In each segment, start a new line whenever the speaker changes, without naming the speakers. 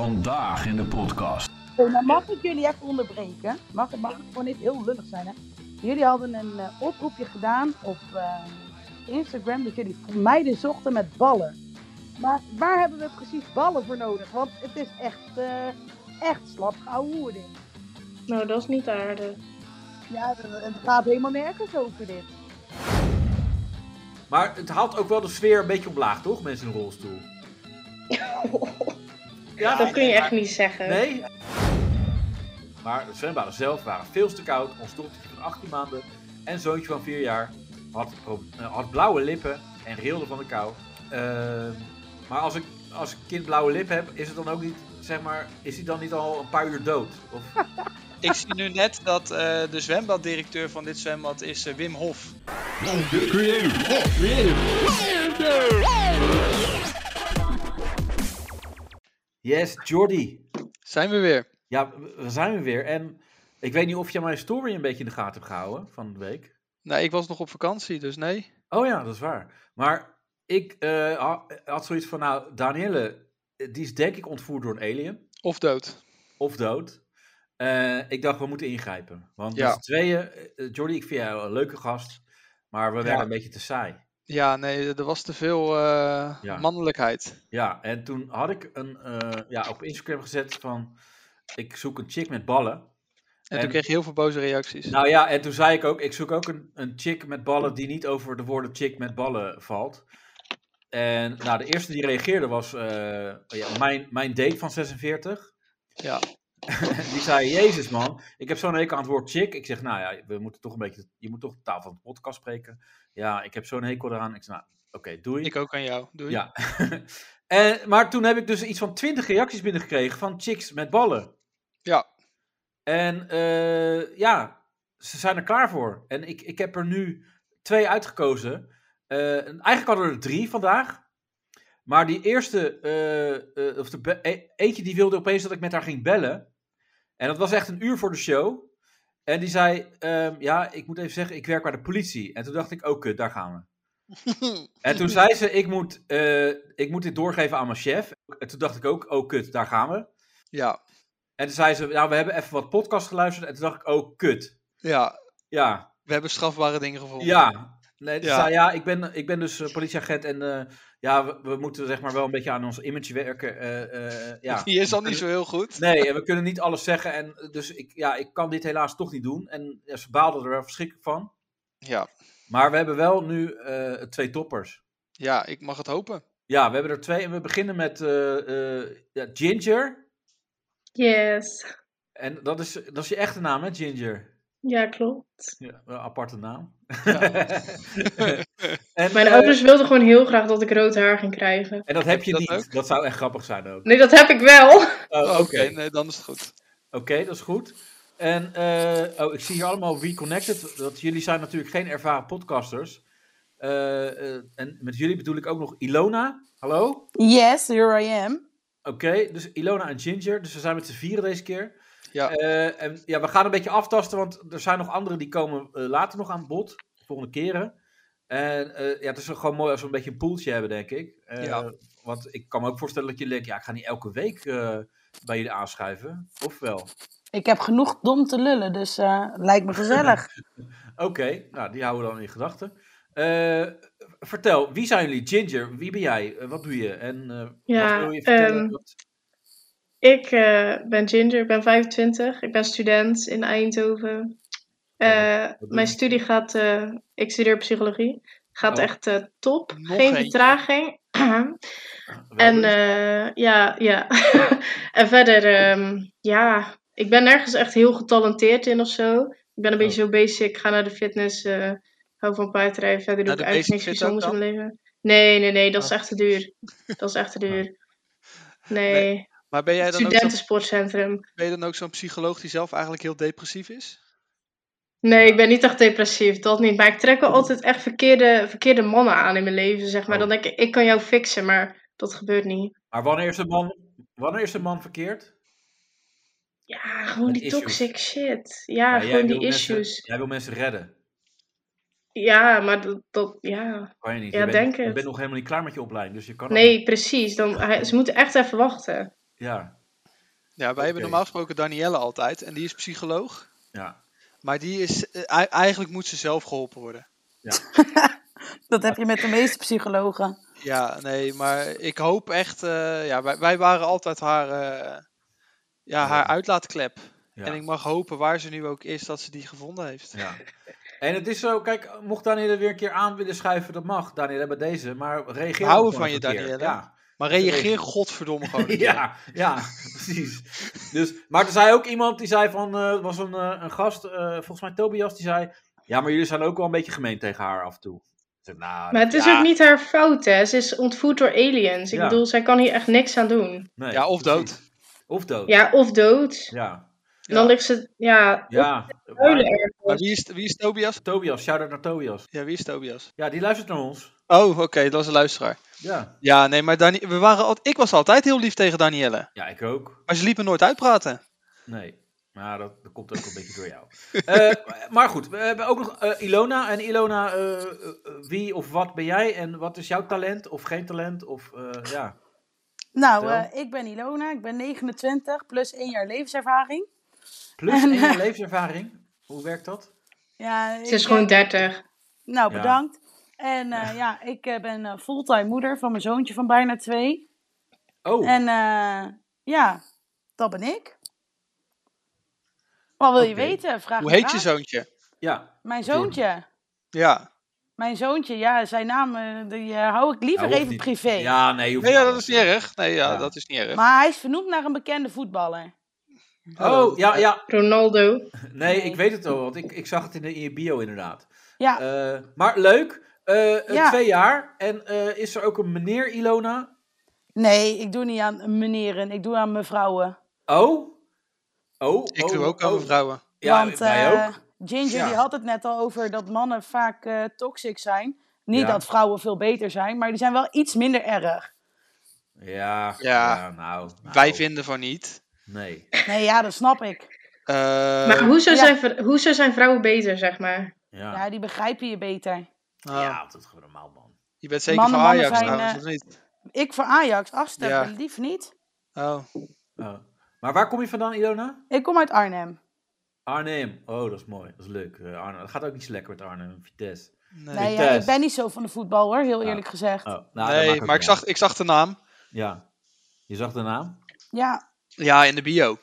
Vandaag in de podcast.
Oké, nou mag ik jullie even onderbreken? Mag, mag ik gewoon niet heel lullig zijn, hè? Jullie hadden een eh, oproepje gedaan op eh, Instagram dat jullie meiden zochten met ballen. Maar waar hebben we precies ballen voor nodig? Want het is echt, eh, echt slap geouwe dit.
Nou, dat is niet aardig.
Ja, het gaat helemaal nergens over dit.
Maar het haalt ook wel de sfeer een beetje omlaag, toch? Mensen in een rolstoel. Ja,
Dat kun je echt eh, niet zeggen.
Nee. Maar de zwembaden zelf waren veel te koud. Ons dochtertje van 18 maanden en zoontje van 4 jaar had, pro- eh, had blauwe lippen en rilde van de kou. Ehm, maar als ik als een kind blauwe lip heb, is het dan ook niet, zeg maar, is hij dan niet al een paar uur dood? Of,
Ik zie nu net dat eh, de zwembaddirecteur van dit zwembad is eh, Wim Hof.
yes, Jordi.
Zijn we weer.
Ja, we zijn we weer. En ik weet niet of je mijn story een beetje in de gaten hebt gehouden van de week.
Nou, ik was nog op vakantie, dus nee.
Oh ja, dat is waar. Maar ik eh, ha- had zoiets van, nou, Danielle, eh, die is denk ik ontvoerd door een alien
Of dood.
of dood. Eh, ik dacht, we moeten ingrijpen. Want
Ja.
met z'n tweeën, eh, Jordi, ik vind jou een leuke gast, maar we werden
Ja.
een beetje te saai.
Ja, nee, er was te veel eh,
Ja.
mannelijkheid.
Ja, en toen had ik een, eh, ja, op Instagram gezet van, ik zoek een chick met ballen.
En,
En-
toen kreeg je heel veel boze reacties.
Nou ja, en toen zei ik ook, ik zoek ook een, een chick met ballen die niet over de woorden chick met ballen valt. En nou, de eerste die reageerde was eh, ja, mijn, mijn date van 46.
Ja.
die zei, jezus man, ik heb zo'n hekel aan het woord chick. Ik zeg, nou ja, we moeten toch een beetje, je moet toch de taal van de podcast spreken. Ja, ik heb zo'n hekel eraan. Ik zeg, nou, oké, doei.
Ik ook aan jou. Doei.
Ja. en, maar toen heb ik dus iets van 20 reacties binnengekregen van chicks met ballen.
Ja.
En eh, ja, ze zijn er klaar voor. En ik, ik heb er nu twee uitgekozen. Eh, en eigenlijk hadden we er drie vandaag. Maar die eerste, eh, eh, of de be- e- eentje die wilde opeens dat ik met haar ging bellen. En dat was echt een uur voor de show. En die zei, ehm, ja, ik moet even zeggen, ik werk bij de politie. En toen dacht ik, oh kut, daar gaan we. En toen zei ze, ik moet, eh, ik moet dit doorgeven aan mijn chef. En toen dacht ik ook, oh kut, daar gaan we.
Ja.
En toen zei ze, nou, we hebben even wat podcast geluisterd. En toen dacht ik, oh kut.
Ja.
Ja,
We hebben strafbare dingen gevonden.
ja. Nee, toen
Ja.
zei, ja ik, ben, ik ben dus eh, politieagent en eh, ja, we, we moeten zeg maar wel een beetje aan ons image werken. eh, eh, ja.
Die is al niet zo heel goed.
Nee, en we kunnen niet alles zeggen. En eh, dus ik, ja, ik kan dit helaas toch niet doen. En ja, ze baalden er wel verschrikkelijk van.
Ja.
Maar we hebben wel nu eh, twee toppers.
Ja, ik mag het hopen.
Ja, we hebben er twee. En we beginnen met eh, eh, ja, Ginger.
Yes.
En dat is, dat is je echte naam, hè, Ginger?
Ja, klopt.
Ja, een aparte naam. en,
Mijn
eh,
ouders wilden gewoon heel graag dat ik rood haar ging krijgen.
en dat heb
Heb
je
je dat
niet.
ook?
Dat zou echt grappig zijn ook.
Nee, dat heb ik wel.
Oh,
Oké,
Oké,
nee, dan is het goed.
Oké, dat is goed. En eh, oh, ik zie hier allemaal Reconnected. Dat jullie zijn natuurlijk geen ervaren podcasters. Eh, eh, en met jullie bedoel ik ook nog Ilona. Hallo? Oké,
Yes, here I am.
dus Ilona en Ginger. Dus we zijn met z'n vieren deze keer.
Ja.
Eh, en ja, we gaan een beetje aftasten, want er zijn nog anderen die komen eh, later nog aan bod. Volgende keren. En eh, ja, het is gewoon mooi als we een beetje een poeltje hebben, denk ik. Eh,
Ja.
Want ik kan me ook voorstellen dat jullie denken, ja, ik ga niet elke week eh, bij jullie aanschuiven. Of wel?
Ik heb genoeg dom te lullen, dus eh, lijkt me gezellig.
Oké, nou, die houden we dan in gedachten. Eh, vertel, wie zijn jullie? Ginger, wie ben jij? Eh, wat doe je? En eh,
Ja,
wat wil je vertellen?
ehm,
Wat-
Ik eh, ben Ginger, ik ben 25. Ik ben student in Eindhoven. Eh,
doe je?
mijn studie gaat, eh, ik studeer psychologie. Gaat
Oh.
echt eh, top.
Nog
Geen
eentje.
vertraging.
wel
en
doen?
dus-
eh, ja, ja. en verder, ehm, ja, ik ben nergens echt heel getalenteerd in of zo. Ik
Oh.
ben een beetje zo basic. Ik ga naar de fitness, eh, hou van paardrijden. Verder doe
Nou,
ik
de
eigenlijk
basic
niks
fit ook Oh.
bijzonders in mijn leven. Nee, nee, nee, dat is echt te duur. Dat is echt te duur.
Nee,
Nee.
Maar ben jij dan, ook zo'n,
Studentensportcentrum.
ben je dan ook zo'n psycholoog die zelf eigenlijk heel depressief is?
Nee, ik ben niet echt depressief, dat niet. Maar ik trek
Oh.
wel altijd echt verkeerde, verkeerde mannen aan in mijn leven, zeg maar.
Oh.
Dan denk ik, ik kan jou fixen, maar dat gebeurt niet.
Maar wanneer is een man, wanneer is een man verkeerd?
Ja, gewoon
Met
die
issues.
toxic shit. Ja,
Ja, jij
gewoon die
wil mensen-
issues.
jij wil mensen redden.
Ja, maar dat, dat, ja.
Kan je niet.
Ja,
je bent,
denk
je
het.
bent nog helemaal niet klaar met je opleiding, dus je kan ook niet.
Nee, precies. Dan, hij- ze moeten echt even wachten.
Ja.
Ja, wij
Oké.
hebben normaal gesproken Danielle altijd. En die is psycholoog.
Ja.
Maar die is, eh, ei- eigenlijk moet ze zelf geholpen worden.
Dat heb je met de meeste psychologen.
Ja, nee, maar ik hoop echt... eh, ja, wij, wij waren altijd haar, eh, ja, haar uitlaatklep.
Ja.
En ik mag hopen, waar ze nu ook is, dat ze die gevonden heeft.
Ja. En het is zo, kijk, mocht Danielle weer een keer aan willen schuiven, dat mag. Danielle bij deze, maar reageer.
houden
ook gewoon
van je,
een keer.
Danielle.
Ja.
Maar reageer godverdomme gewoon. een keer.
ja, ja, precies. Dus, maar er zei ook iemand die zei van, eh, er was een, eh, een gast, eh, volgens mij Tobias, die zei, ja, maar jullie zijn ook wel een beetje gemeen tegen haar af en toe. Ik zeg, nou,
Maar het is
ja,
ook niet haar fout, hè. Ze is ontvoerd door aliens. Ik
Ja.
bedoel, zij kan hier echt niks aan doen.
nee,
Ja, of
precies.
dood.
Of dood.
Ja, of dood.
Ja.
Ja.
Dan ligt ze, ja,
ja.
huilen
Maar-
ergens.
Maar wie is, wie is Tobias?
Tobias, shout-out naar Tobias.
Ja, wie is Tobias?
Ja, die luistert naar ons.
Oh, oké, dat was een luisteraar.
Ja,
Ja, nee, maar Dani we waren al ik was altijd heel lief tegen Danielle.
ja ik ook.
Maar ze liep me nooit uitpraten.
Nee. Maar dat, dat komt ook een beetje door jou. Eh, maar goed, we hebben ook nog eh, Ilona. En Ilona, eh, eh, eh, wie of wat ben jij? En wat is jouw talent of geen talent? Of eh, ja.
Nou,
Vertel.
eh, ik ben Ilona, ik ben 29 plus 1 jaar levenservaring.
Plus
En,
één
eh,
levenservaring. Hoe werkt dat?
Ja,
Ze is
ik,
gewoon
eh,
30.
Nou,
Ja.
bedankt. En eh, ja, ik eh, ben eh, fulltime moeder van mijn zoontje van bijna twee.
Oh,
En eh, ja, dat ben ik. Wat wil je
Oké.
weten? Vraag
Hoe
me
heet je
raak.
zoontje?
ja.
Mijn zoontje.
Ja.
Mijn zoontje, ja, zijn naam eh, die, eh, hou ik liever
Nou, hoeft
even
niet.
privé.
Ja, nee. Hoeft
Nee, ja,
niet.
dat is niet erg. Nee, ja,
Ja.
dat is niet erg.
Maar hij is vernoemd naar een bekende voetballer.
Oh, ja, ja.
Ronaldo.
Nee, ik weet het al, want ik, ik zag het in, de, in je bio inderdaad.
Ja,
Eh, maar leuk. Eh, eh,
Ja.
Twee jaar. En eh, is er ook een meneer Ilona?
nee, ik doe niet aan meneren, ik doe aan mevrouwen.
Oh? Oh,
Ik
oh,
doe ook
oh.
over vrouwen.
Ja,
Want
wij
eh,
ook.
Ginger
Ja.
die had het net al over dat mannen vaak eh toxic zijn. Niet
Ja.
dat vrouwen veel beter zijn, maar die zijn wel iets minder erg.
Ja, ja.
Ja.
nou, nou,
Wij vinden van niet.
Nee.
Nee, ja, dat snap ik.
Eh,
Maar hoezo,
ja.
zijn, vr- hoezo zijn vrouwen beter, zeg maar?
Ja,
Ja,
ja.
die begrijpen je beter.
nou,
dat is gewoon normaal, man.
Je bent zeker
mannen-
van
mannen
Ajax
zijn,
trouwens,
eh,
of niet?
Ik voor Ajax, afstappen,
Ja.
lief niet.
Oh.
Oh. Maar waar kom je vandaan, Ilona?
Ik kom uit Arnhem.
Arnhem. Oh, dat is mooi. Dat is leuk. Eh, Arnhem. Het gaat ook niet zo lekker met Arnhem. Vitesse.
Nee,
Nee,
nee,
ja,
Vitesse.
ik ben niet zo van de voetbal hoor, heel
Ja.
eerlijk gezegd.
Oh, nou, dat maakt ook
maar ik
niet uit.
zag, ik zag de naam.
Ja. Je zag de naam?
Ja,
Ja, in de bio.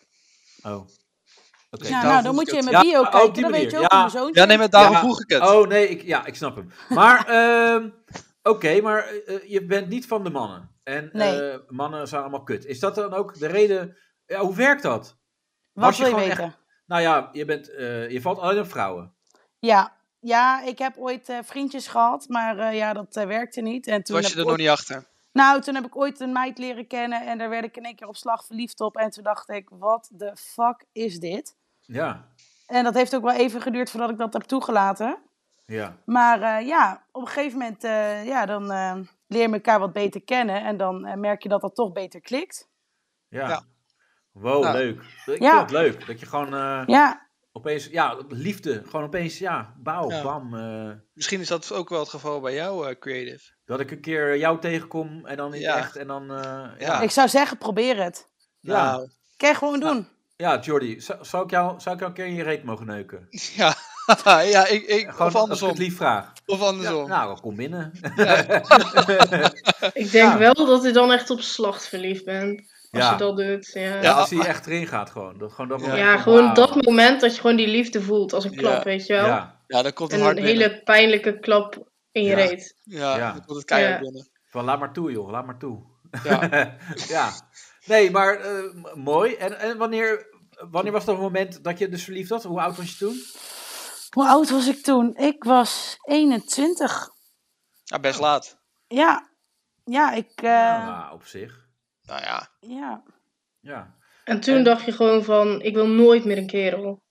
Oh. Oké.
ja
daarom
nou,
vroeg
dan moet
ik
je in
het.
mijn bio
Ja, oh,
kijken,
op die
dan weet
manier.
je ook
Ja.
hoe mijn zoontje
Ja, nee, maar daarom
Ja.
vroeg ik het.
Oh, nee. Ik, ja, ik snap hem. Maar, ehm, oké, maar eh, je bent niet van de mannen. En
Nee.
eh, mannen zijn allemaal kut. Is dat dan ook de reden... Ja, hoe werkt dat?
Wat
Was je
wil je
gewoon
weten?
Nou ja, je, bent, eh, je valt alleen op vrouwen.
Ja. ja, ik heb ooit eh, vriendjes gehad, maar eh, ja, dat eh, werkte niet. En toen
Toen was
heb
je
ik
er nog
ooit-
niet achter.
Nou, toen heb ik ooit een meid leren kennen en daar werd ik in één keer op slag verliefd op. En toen dacht ik, wat de fuck is dit?
Ja.
En dat heeft ook wel even geduurd voordat ik dat heb toegelaten.
Ja.
Maar eh, ja, op een gegeven moment eh, ja, dan, eh, leer je elkaar wat beter kennen. En dan eh, merk je dat dat toch beter klikt.
Ja.
Ja.
Wow,
Nou.
leuk. Ik
Ja.
vind het leuk. Dat je gewoon eh,
Ja,
opeens, ja, liefde. Gewoon opeens, ja, bouw,
Ja.
bam. eh,
Misschien is dat ook wel het geval bij jou, eh, Creative.
dat ik een keer jou tegenkom en dan in
Ja.
echt. En dan, eh, ja.
Ja.
ik zou zeggen, probeer het.
Ja.
Nou,
Kijk, gewoon doen.
Ja, Jordi, zou, zou ik jou, zou ik jou een keer in je reet mogen neuken?
ja. ja, ik, ik,
Gewoon
of
als ik het
andersom.
lief vraag.
Of
Ja,
andersom.
nou, dan kom binnen. Eh,
Ik denk wel dat je dan echt op slacht verliefd bent. Als
Ja.
je dat doet. Ja,
Ja,
ja,
als hij echt erin gaat gewoon. Dat, gewoon dat moment van,
gewoon
wauw.
dat moment dat je gewoon die liefde voelt als een
Ja.
klap, weet je wel.
Ja,
Ja, dan komt het
En
hard
een
binnen.
hele pijnlijke klap in je
Ja.
reet.
Ja,
Ja.
dan komt het keihard
Ja.
binnen.
van laat maar toe joh, laat maar toe.
Ja.
ja. Nee, maar eh, m- mooi. En, en wanneer, wanneer was dat moment dat je dus verliefd was? Hoe oud was je toen?
Hoe oud was ik toen? Ik was 21.
ja, best laat.
Ja, ja, ik. eh, ja.
Ja, Ah, op zich.
Nou ja.
Ja.
En toen
En-
dacht je gewoon van, ik wil nooit meer een kerel.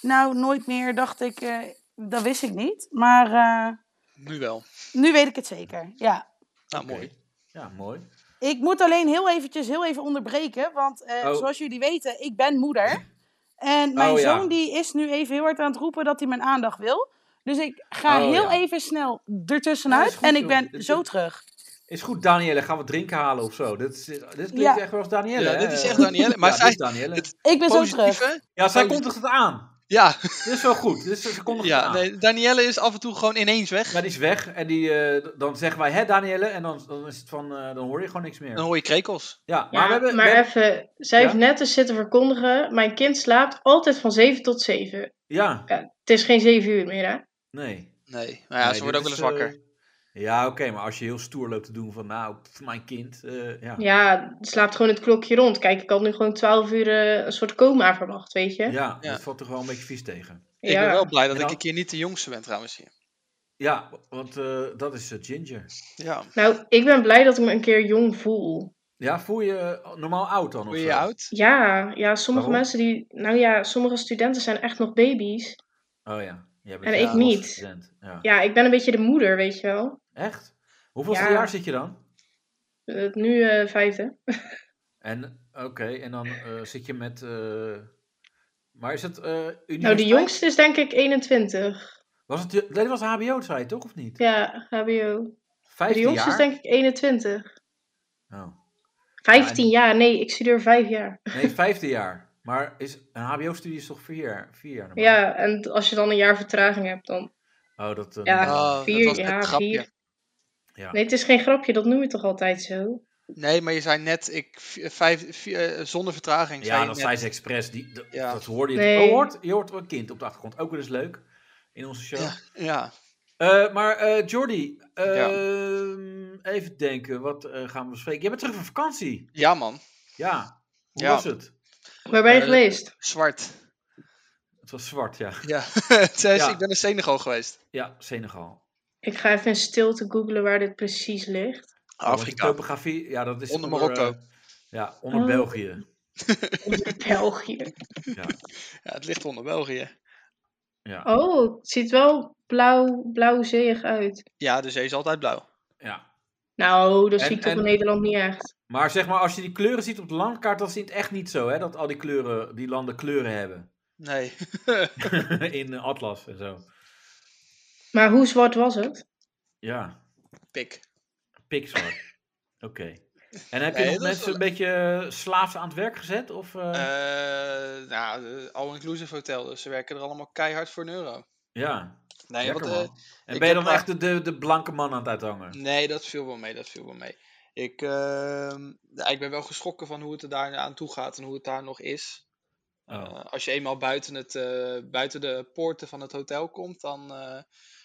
Nou, nooit meer dacht ik. eh, dat wist ik niet. Maar eh,
Nu wel.
nu weet ik het zeker. Ja.
Nou,
Oké.
mooi.
Ja, mooi.
Ik moet alleen heel eventjes heel even onderbreken. Want eh,
Oh.
zoals jullie weten, ik ben moeder. En mijn
Oh, ja.
zoon die is nu even heel hard aan het roepen dat hij mijn aandacht wil. Dus ik ga
Oh,
heel
ja.
even snel
Ja, dat
ertussenuit.
is goed,
en ik
joh.
ben
Dit-
zo
dit-
terug.
Is goed, Danielle, gaan we drinken halen of zo. Dit, is, eh, dit klinkt
Ja.
echt wel als Danielle.
Ja,
hè?
dit is echt Danielle, maar
Ja,
zij-
dit is Danielle.
dit-
Ik ben zo terug.
Positief, hè?
ja, zij
oh, dit-
kondigt het aan.
Ja,
Dit is wel goed. Dit is, ze kondigt het
ja
aan.
nee, Danielle is af en toe gewoon ineens weg.
Ja, die is weg en die, eh, dan zeggen wij, hè Danielle? En dan, dan, is het van, eh, dan hoor je gewoon niks meer.
Dan hoor je krekels.
Ja,
Ja,
maar we hebben... we hebben-
even, zij
Ja?
heeft net eens zitten verkondigen. Mijn kind slaapt altijd van 7 tot 7.
ja,
Het is geen 7 uur meer, hè?
nee.
Nee, maar ja,
Nee,
ze wordt ook
dit
wel eens
is, eh,
wakker.
ja, oké, maar als je heel stoer loopt te doen van, nou, pff, mijn kind, eh, ja.
Ja, het slaapt gewoon het klokje rond. Kijk, ik had nu gewoon 12 uur eh, een soort coma verwacht, weet je?
Ja,
Ja.
dat valt toch wel een beetje vies tegen.
Ik ben wel blij dat
En
ik
dan-
een keer niet de jongste ben trouwens hier.
Ja, want eh, dat is eh, Ginger.
Ja.
Nou, ik ben blij dat ik me een keer jong voel.
Ja, voel je eh, normaal oud dan?
Word
of zo?
je je oud?
Ja, ja, sommige
Waarom?
mensen die. Nou ja, sommige studenten zijn echt nog baby's.
Oh ja. Jij bent een
En
ik
losse
niet.
student. Ja.
Ja, ik ben een beetje de moeder, weet je wel.
Echt? Hoeveelste
Ja.
jaar zit je dan?
Eh, Nu eh, vijfde.
En, oké, en dan eh, zit je met... eh, maar is het eh
Nou, de
universiteit?
jongste is denk ik 21.
Was het, dat was HBO, zei je toch, of niet?
Ja, HBO. De
15
jongste is
jaar?
denk ik 21.
Oh.
15 jaar, nee, ik studeer vijf jaar.
Nee, 15 jaar. Maar is, een HBO-studie is toch 4 jaar? 4 jaar normaal?
Ja, en t- als je dan een jaar vertraging hebt, dan.
Oh, dat... eh,
Ja.
normaal.
Oh,
vier,
dat was
ja,
een grapje.
vier.
ja.
Nee, het is geen grapje, dat noem je toch altijd zo?
Nee, maar je zei net, ik, v- vijf, vier, eh, zonder vertraging. zei
Ja,
je
dat
net.
zei ze expres. Die, dat,
Ja.
dat hoorde je.
Nee.
Oh, je hoort, je hoort een kind op de achtergrond. Ook wel eens leuk. In onze show.
Ja, ja.
Eh, maar eh Jordi, ehm, even denken. Wat eh, gaan we bespreken? Jij bent terug van vakantie.
ja, man.
Ja. Hoe
Ja.
was het?
Waar ben je
Eh,
geweest?
Zwart.
Het was zwart, ja.
Ja. Het zei ze,
Ja.
Ik ben naar Senegal geweest.
Ja, Senegal.
Ik ga even in stilte googlen waar dit precies ligt.
De
Afrika.
topografie, ja, dat is
Onder Marokko.
eh, ja, onder
Oh.
België.
België.
Ja, het ligt onder België.
Ja.
Oh, het ziet wel blauw, blauwzeeig uit.
Ja, de zee is altijd blauw.
ja.
Nou, dat
En-
zie ik toch
en-
in Nederland niet echt.
Maar zeg maar, als je die kleuren ziet op de landkaart, dan is het echt niet zo, hè? Dat al die kleuren, die landen kleuren hebben.
Nee.
In eh, Atlas en zo.
Maar hoe zwart was het?
Ja,
Pik.
pikzwart. Oké. En heb je
Nee,
nog
dat is
mensen
wel-
een beetje eh, slaafs aan het werk gezet? Of, eh,
Eh, nou, eh, all-inclusive hotel. Dus ze werken er allemaal keihard voor een euro.
ja,
Nee,
lekker
wat,
man.
eh,
En
ik
ben je
heb
dan
maar-
echt de, de, de blanke man aan het uithangen?
Nee, dat viel wel mee, dat viel wel mee. Ik, ehm, ja, ik ben wel geschrokken van hoe het er daar aan toe gaat en hoe het daar nog is.
Oh.
Eh, als je eenmaal buiten, het, eh, buiten de poorten van het hotel komt, dan eh,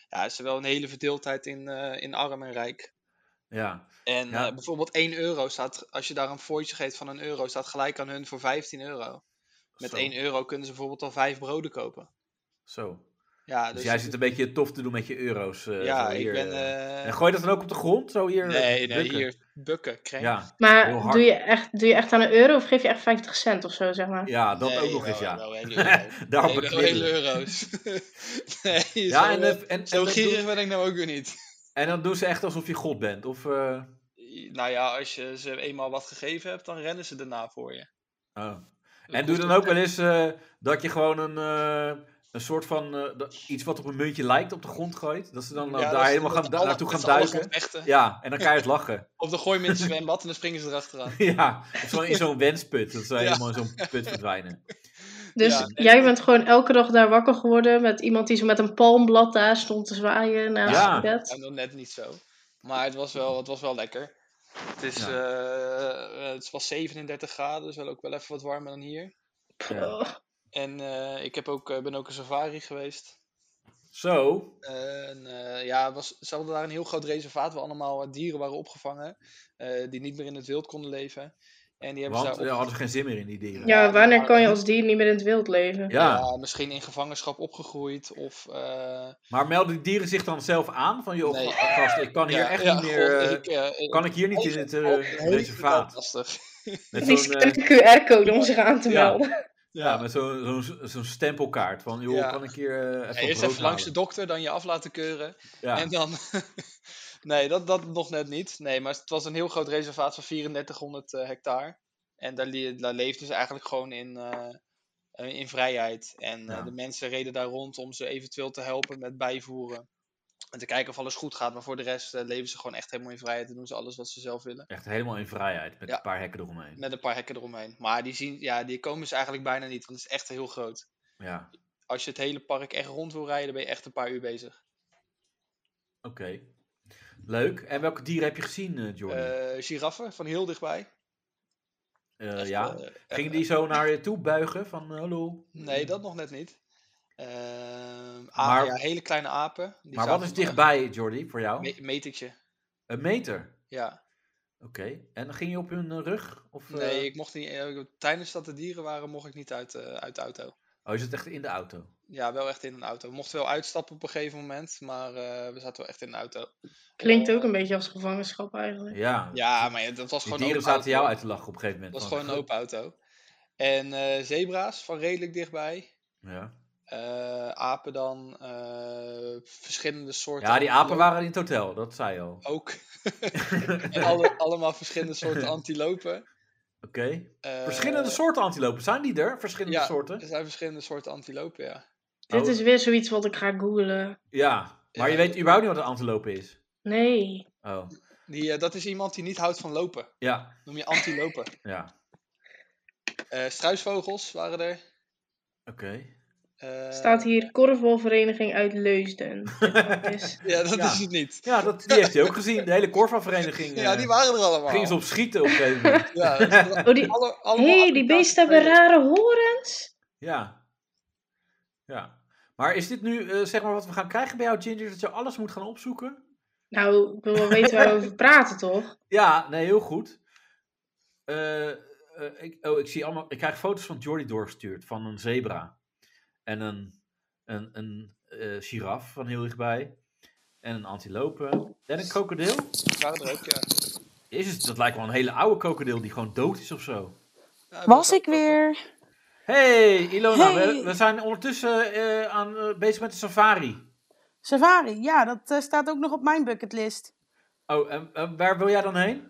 ja, is er wel een hele verdeeldheid in, eh, in arm en rijk.
Ja,
En
Ja.
eh, bijvoorbeeld 1 euro staat, als je daar een voortje geeft van een euro, staat gelijk aan hun voor 15 euro. Met
zo.
1 euro kunnen ze bijvoorbeeld al 5 broden kopen.
Zo. Dus,
Ja, dus
jij
dat
zit
is-
een beetje tof te doen met je euro's. eh,
ja,
zo
ik
hier,
ben.
eh.
eh,
En gooi je dat dan ook op de grond? Zo hier?
nee, nee,
bukken?
hier. Bukken, krenk.
Ja, Heel
Maar
hard.
doe je, echt, doe je echt aan een euro of geef je echt 50 cent of zo, zeg maar?
ja, dat
Nee,
ook nog
wel,
eens, ja.
wel, wel, wel.
Daarom
Nee, wel
beknibbelen.
hele euro's. nee,
Ja,
zo,
en,
eh,
eh, en,
zo
en, dan
gierig
doen,
ben ik nou ook weer niet.
en dan doen ze echt alsof je god bent. Of, eh,
Nou ja, als je ze eenmaal wat gegeven hebt, dan rennen ze daarna voor je.
oh. En doe dan ook wel eens eh, dat je gewoon een, eh, een soort van eh, dat- iets wat op een muntje lijkt op de grond gooit. Dat ze dan eh,
Ja, dat
daar
ze-
helemaal
dat
gaan,
ze alle-
naartoe
dat
gaan
ze alles
duiken.
vechten.
Ja, en dan keihard lachen.
Of dan gooi je mensen in het zwembad en dan springen ze erachteraan.
ja, of zo in zo'n wensput. Dat ze
Ja.
helemaal in zo'n put verdwijnen.
Dus
Ja, en-
jij bent gewoon elke dag daar wakker geworden met iemand die zo met een palmblad daar stond te zwaaien naast
Ja.
je bed.
En dan net niet zo. Maar het was wel, het was wel lekker. Het, is,
Ja.
eh, eh, het was 37 graden, dus wel ook wel even wat warmer dan hier.
Ja.
Oh,
En eh, ik heb ook, eh, ben ook een safari geweest.
Zo,
Eh, En eh, ja, het was, ze hadden daar een heel groot reservaat waar allemaal eh, dieren waren opgevangen. eh, die niet meer in het wild konden leven. En die hebben
want
ze
daar
daar op-
hadden ze geen zin meer in die dieren. Ja,
Ja,
ja, wanneer
maar-
kan je als dier niet meer in het wild leven?
ja, misschien in gevangenschap opgegroeid. Of eh,
maar melden die dieren zich dan zelf aan? Van joh,
Nee.
gast, ik kan hier
ja,
echt
ja,
niet meer...
god,
eh,
ik, eh, ik-
kan ik hier niet in het eh,
Heel
reservaat?
lastig.
Met
Die
zo'n, eh,
scant QR-code om zich aan te
Ja.
melden.
Ja, met zo'n zo'n zo'n stempelkaart. Van, joh,
Ja.
kan ik hier eh,
Ja,
even
eerst
brood
even langs de
halen?
dokter, dan je af laten keuren.
Ja.
En dan. nee, dat, dat nog net niet. Nee, maar het was een heel groot reservaat van 3400 eh, hectare. En daar, le- daar leefden ze eigenlijk gewoon in, eh, eh, in vrijheid. En eh,
Ja.
de mensen reden daar rond om ze eventueel te helpen met bijvoeren. En te kijken of alles goed gaat. Maar voor de rest eh, leven ze gewoon echt helemaal in vrijheid en doen ze alles wat ze zelf willen.
Echt helemaal in vrijheid, met
Ja.
een paar hekken eromheen.
Met een paar hekken eromheen. Maar die, zien, ja, die komen ze eigenlijk bijna niet, want het is echt heel groot.
Ja,
Als je het hele park echt rond wil rijden, ben je echt een paar uur bezig.
oké. Leuk. En welke dieren heb je gezien, eh Jordi?
Eh giraffen van heel dichtbij.
Eh,
Echt,
ja.
eh, echt,
Ging die zo naar je toe buigen van eh, hallo?
Nee, dat nog net niet. Ehm
Hmm. Maar-
maar, ja, hele kleine apen. Die
Maar wat
zaten
is
op-
dichtbij, Jordi, voor jou?
Me- metertje,
Een meter.
ja.
Oké. En dan ging je op hun eh, rug? Of, eh,
Nee, ik mocht niet, eh, tijdens dat de dieren waren, mocht ik niet uit, eh, uit de auto.
Oh, je zit echt in de auto.
Ja, wel echt in een auto. We mochten wel uitstappen op een gegeven moment, maar eh, we zaten wel echt in een auto.
Klinkt ook een beetje als gevangenschap eigenlijk.
Ja.
Ja, maar ja, dat was
Die
gewoon een
dieren
open
zaten
auto.
jou uit te lachen op een gegeven
Dat
moment. van,
was gewoon een open auto. En eh, zebra's van redelijk dichtbij.
Ja.
Eh, apen dan. eh, verschillende soorten.
ja, die apen
antilopen
waren in het hotel, dat zei je al. Oké.
Ook. en alle, allemaal verschillende soorten antilopen. Eh,
Verschillende soorten antilopen, zijn die er? Verschillende
ja.
soorten?
Er zijn verschillende soorten antilopen, ja.
Dit is weer zoiets wat ik ga googlen.
Ja, maar je
Ja.
weet überhaupt niet wat een antilope is.
Nee.
Oh,
Die, eh, dat is iemand die niet houdt van lopen.
ja,
Noem je antilopen.
ja,
Eh, struisvogels waren er.
oké.
Eh,
Staat hier korfbalvereniging uit Leusden. Dus
Ja, dat
Ja.
is het niet.
Ja, dat, die heeft hij ook gezien. De hele korfbalvereniging.
Ja,
eh,
die waren er allemaal.
Gingen ze op schieten op een gegeven moment.
Ja, dat is wel-
Oh, die-
alle- allemaal
Hé, hey, die
Afrikaanse
beesten hebben
spelers.
rare horens.
Ja. Ja. Maar is dit nu, eh, zeg maar, wat we gaan krijgen bij jou, Ginger, dat je alles moet gaan opzoeken?
Nou, ik wil wel weten waar we over praten, toch?
Ja, nee, heel goed. Eh, eh, ik, oh, ik zie allemaal, ik krijg foto's van Jordi doorgestuurd, van een zebra. En een, een, een eh, giraf van heel dichtbij. En een antilope. En een krokodil.
Waren er ook, ja.
Jezus, dat lijkt wel een hele oude krokodil die gewoon dood is of zo.
Ja,
Was
dat-
ik weer?
Hey, Ilona, we,
Hey.
we zijn ondertussen eh, aan, eh, bezig met de safari.
Safari, ja, dat eh, staat ook nog op mijn bucketlist.
Oh, en, en waar wil jij dan heen?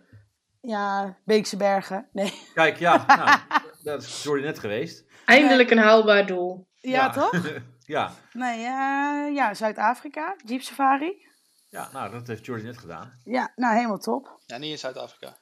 Ja, Beekse Bergen. Nee.
Kijk, ja, nou, dat is Jordi net geweest.
Eindelijk een haalbaar doel.
Ja, toch?
ja.
Nee, eh, ja, Zuid-Afrika, Jeep Safari.
ja, nou, dat heeft Jordi net gedaan.
Ja, nou helemaal top.
Ja, niet in Zuid-Afrika.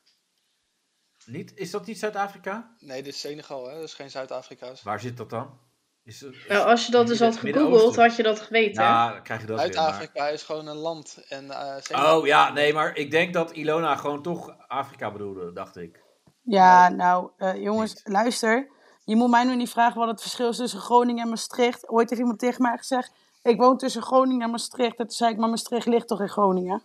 Niet, is dat niet Zuid-Afrika?
Nee, dit is Senegal, hè. Dat is geen Zuid-Afrika.
Waar zit dat dan? Is, het- is-
Nou, als je dat dus had gegoogeld, had je dat geweten. hè?
ja, dan krijg je dat weer. maar-
Zuid-Afrika is gewoon een land. En, eh, Senegal-
Oh ja, nee, maar ik denk dat Ilona gewoon toch Afrika bedoelde, dacht ik.
Ja, nou eh, jongens,
Niet.
luister. Je moet mij nu niet vragen wat het verschil is tussen Groningen en Maastricht. Ooit heeft iemand tegen mij gezegd, ik woon tussen Groningen en Maastricht. En toen zei ik, maar Maastricht ligt toch in Groningen?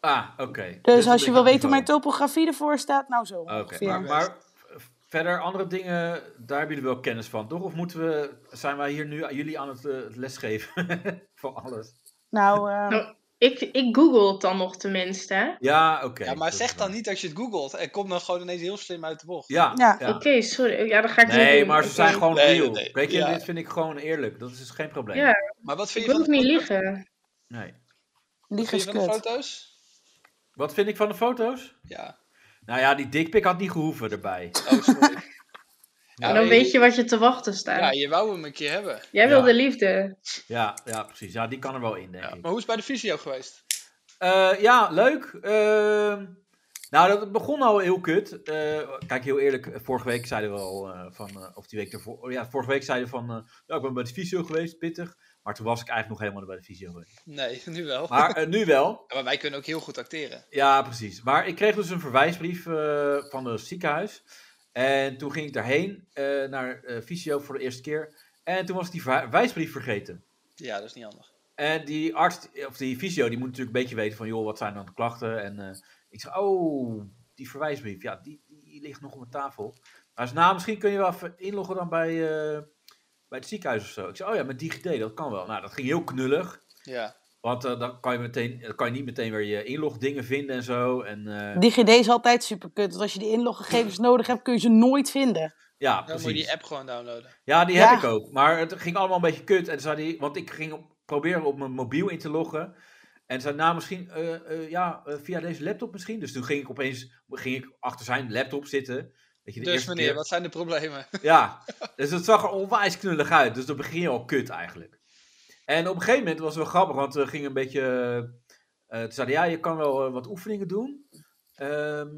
Ah, oké.
Dus,
het
als je
ligt
wil
aan
weten hoe
niveau.
mijn topografie ervoor staat, nou zo
Oké,
ongeveer.
maar, maar v- verder andere dingen, daar hebben jullie wel kennis van, toch? Of moeten we, zijn wij hier nu aan- jullie aan het eh, het lesgeven van alles?
Nou, eh,
Nou, Ik, ik google het dan nog tenminste. hè?
Ja, oké.
Ja, maar
dat
zeg
is waar.
dan niet dat je het googelt. En kom dan gewoon ineens heel slim uit de bocht.
Ja, ja.
Ja.
Oké, sorry. Ja, dan ga ik niet
Nee,
doen.
maar ze
Oké.
zijn gewoon
Nee, nee,
real.
nee.
Weet je,
Ja.
dit vind ik gewoon eerlijk. Dat is dus geen probleem.
Ja,
Maar wat
Ik
vind je
wil
van
ook
de
niet
foto's?
liegen.
Nee.
Wat
liegen
vind
is
je van de
kut.
foto's?
Wat vind ik van de foto's?
Ja.
Nou ja, die dikpik had niet gehoeven erbij.
Oh, sorry.
Ja,
En dan
je-
weet je wat je te wachten staat.
Ja, je wou hem een keer hebben.
Jij wil
Ja.
de liefde.
Ja, ja precies. Ja, die kan er wel in, denk ik.
Maar hoe is het bij de fysio geweest?
Eh, ja, leuk. Ehm, nou, dat begon al heel kut. Eh, kijk, heel eerlijk, vorige week zeiden we al eh, van, eh, of die week ervoor, oh ja, vorige week zeiden we van, eh, nou, ik ben bij de fysio geweest, pittig. Maar toen was ik eigenlijk nog helemaal niet bij de fysio geweest.
Nee, nu wel.
Maar eh, nu wel.
Ja, maar wij kunnen ook heel goed acteren.
Ja, precies. Maar ik kreeg dus een verwijsbrief eh, van het ziekenhuis. En toen ging ik daarheen eh, naar eh fysio voor de eerste keer. En toen was ik die verwij- verwijsbrief vergeten.
Ja, dat is niet handig.
En die arts, of die fysio, die moet natuurlijk een beetje weten van, joh, wat zijn dan de klachten? En eh, ik zeg, oh, die verwijsbrief, ja, die, die ligt nog op mijn tafel. Hij zei, nou, misschien kun je wel even inloggen dan bij, eh, bij het ziekenhuis of zo. Ik zei, oh ja, met DigiD, dat kan wel. Nou, dat ging heel knullig,
Ja.
want eh, dan kan je, meteen, dan kan je niet meteen weer je inlogdingen vinden en zo. En eh,
DigiD is altijd super kut. Want als je die inloggegevens nodig hebt, kun je ze nooit vinden.
ja,
Dan moet je die
precies.
app gewoon downloaden.
Ja, die
Ja.
heb ik ook, maar het ging allemaal een beetje kut. En zei die, want ik ging op- proberen op mijn mobiel in te loggen. En zei, nou misschien, eh, eh, ja, eh, via deze laptop misschien. Dus toen ging ik opeens, ging ik achter zijn laptop zitten. Weet je, de
Dus
eerste
meneer,
keer.
wat zijn de problemen?
Ja, dus het zag er onwijs knullig uit. Dus dan begin je al kut eigenlijk. En op een gegeven moment was het wel grappig, want we gingen een beetje. eh, toen zeiden ja, je kan wel eh, wat oefeningen doen. Ehm,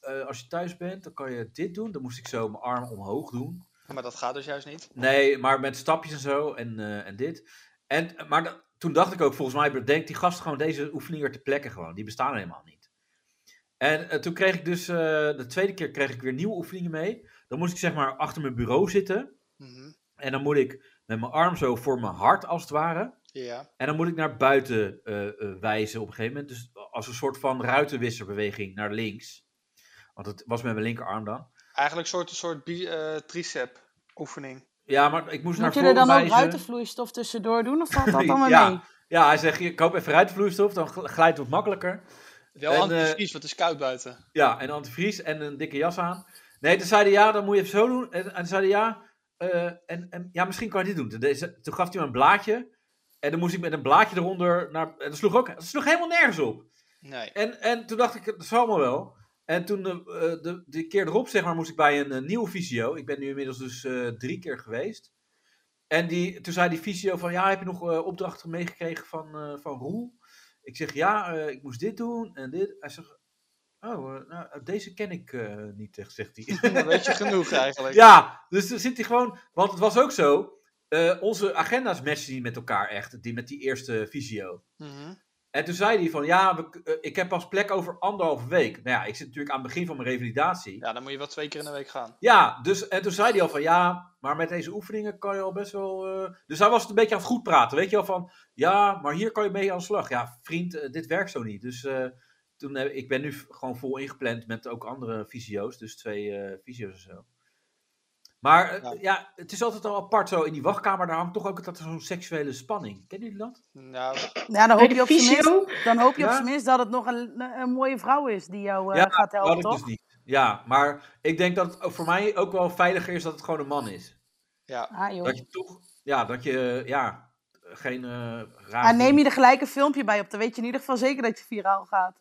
eh, als je thuis bent, dan kan je dit doen. Dan moest ik zo mijn arm omhoog doen.
Maar dat gaat dus juist niet.
Nee, maar met stapjes en zo en, eh, en dit. En, eh, maar da- toen dacht ik ook, volgens mij bedenkt die gast gewoon deze oefeningen weer te plekken gewoon. Die bestaan helemaal niet. En eh, toen kreeg ik dus, eh, de tweede keer kreeg ik weer nieuwe oefeningen mee. Dan moest ik zeg maar achter mijn bureau zitten.
Mhm.
En dan moet ik met mijn arm zo voor mijn hart als het ware.
Ja.
En dan moet ik naar buiten eh, eh, wijzen op een gegeven moment. Dus als een soort van ruitenwisserbeweging naar links. Want het was met mijn linkerarm dan.
Eigenlijk een soort, soort bi- eh, tricep oefening.
Ja, maar ik moest naar
Moet je
voren
er dan ook
wijzen.
ruitenvloeistof tussendoor doen of valt dat dan weer
Ja.
mee?
Ja, hij zegt, ik koop even ruitvloeistof, dan gl- glijdt het wat makkelijker.
Wel
En, eh,
antiprecies, want het is koud buiten.
Ja, en antivries en een dikke jas aan. Nee, toen zei hij, ja, dan moet je even zo doen. En, en toen zei hij, ja, eh, en, en, ja, misschien kan je dit doen. Toen, deze- toen gaf hij me een blaadje. En dan moest ik met een blaadje eronder naar... En dat sloeg ook... Dat sloeg helemaal nergens op.
Nee.
En, en toen dacht ik, dat is allemaal wel. En toen eh, eh, de, de keer erop, zeg maar, moest ik bij een, eh, nieuwe visio. Ik ben nu inmiddels dus eh, drie keer geweest. En die, toen zei die visio van, ja, heb je nog eh, opdrachten meegekregen van, eh, van Roel? Ik zeg, ja, eh, ik moest dit doen en dit. Hij zegt, oh, eh, nou, deze ken ik eh, niet, echt, zegt hij.
Dan weet je genoeg eigenlijk.
Ja, dus dan zit hij gewoon. Want het was ook zo. eh, onze agenda's matchen niet met elkaar echt. Die met die eerste visio.
Mhm.
En toen zei hij van ja, we k- eh, ik heb pas plek over anderhalve week. Nou ja, ik zit natuurlijk aan het begin van mijn revalidatie. Ja,
Ja, dan moet je wel twee keer in de week gaan.
dus en toen zei hij al van ja, maar met deze oefeningen kan je al best wel. eh, Dus hij was het een beetje aan het goed praten. Weet je wel van ja, maar hier kan je mee aan de slag. Ja, vriend, eh, dit werkt zo niet. Dus eh, toen heb, ik ben nu v- gewoon vol ingepland met ook andere fysio's. Dus twee eh fysio's en zo. Maar eh,
Ja.
ja. het is altijd al apart zo in die wachtkamer. Daar hangt toch ook altijd zo'n seksuele spanning. Kennen jullie dat?
Nou,
Ja,
Oh,
dan
Bij
hoop je
de
op zijn minst,
fysio?
dan hoop je op
Ja.
zijn minst dat het nog een, een mooie vrouw is die jou eh,
Ja,
gaat
Dat had
helpen,
ik
toch?
dus niet. Ja, maar ik denk dat het ook voor mij ook wel veiliger is dat het gewoon een man is.
ja.
Ah, joh.
Dat je toch, ja, dat je, eh, ja, geen eh raar.
Ah, neem je er gelijk een filmpje bij op, dan weet je in ieder geval zeker dat je viraal gaat.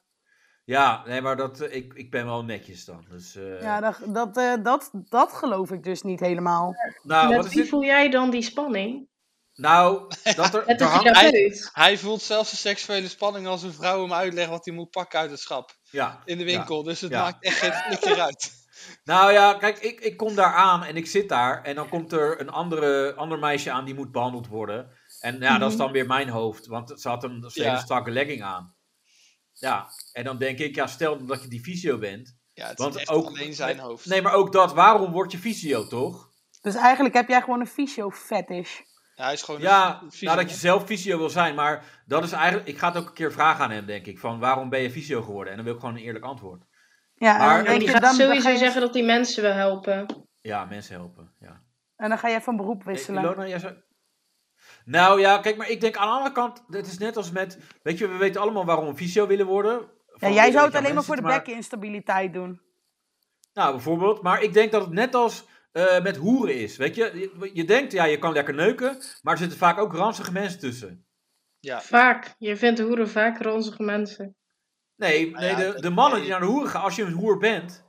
Ja, nee, maar dat, eh, ik, ik ben wel netjes dan. Dus, eh,
Ja, dat, dat, eh, dat, dat geloof ik dus niet helemaal.
nou, wat
Met
is
wie
dit?
voel jij dan die spanning?
Nou, dat er,
Met de
er hangt-
therapeut.
Hij voelt zelfs de seksuele spanning als een vrouw hem uitlegt wat hij moet pakken uit het schap.
ja,
In de
ja.
winkel. Dus het
Ja.
maakt echt geen flikker uit.
Nou ja, kijk, ik, ik kom daar aan en ik zit daar. En dan komt er een andere, ander meisje aan die moet behandeld worden. En ja, dat is
Mhm.
dan weer mijn hoofd, want ze had een ze
Ja.
hele strakke legging aan. Ja, en dan denk ik, ja, stel dat je die fysio bent.
Ja, het
Want
is echt
ook-
alleen zijn hoofd.
Nee, maar ook dat, waarom word je fysio toch?
Dus eigenlijk heb jij gewoon een fysio-fetish.
Ja, hij is gewoon
Ja,
een vieze
nou dat je zelf fysio wil zijn, maar dat is eigenlijk. Ik ga het ook een keer vragen aan hem, denk ik. Van waarom ben je fysio geworden? En dan wil ik gewoon een eerlijk antwoord.
Ja, en
Maar-
dan
Ja,
En
denk
die
je,
gaat
dan
sowieso
ga je-
zeggen dat die mensen wil helpen.
Ja, mensen helpen. Ja.
En dan ga jij van beroep
Eh,
wisselen.
Ilona, jij zou- Nou ja, kijk, maar ik denk aan de andere kant. Het is net als met. Weet je, we weten allemaal waarom we fysio willen worden.
ja,
Van,
jij
weet
zou het
je,
alleen maar
mensen,
voor de bekkeninstabiliteit doen.
Nou, bijvoorbeeld. Maar ik denk dat het net als eh, met hoeren is. Weet je? je, je denkt, ja, je kan lekker neuken. Maar er zitten vaak ook ranzige mensen tussen.
Ja,
Vaak. Je vindt hoeren vaak ranzige mensen.
Nee,
Nou
nee
ja,
de,
dat-
de mannen
nee.
die naar de hoeren gaan, als je een hoer bent,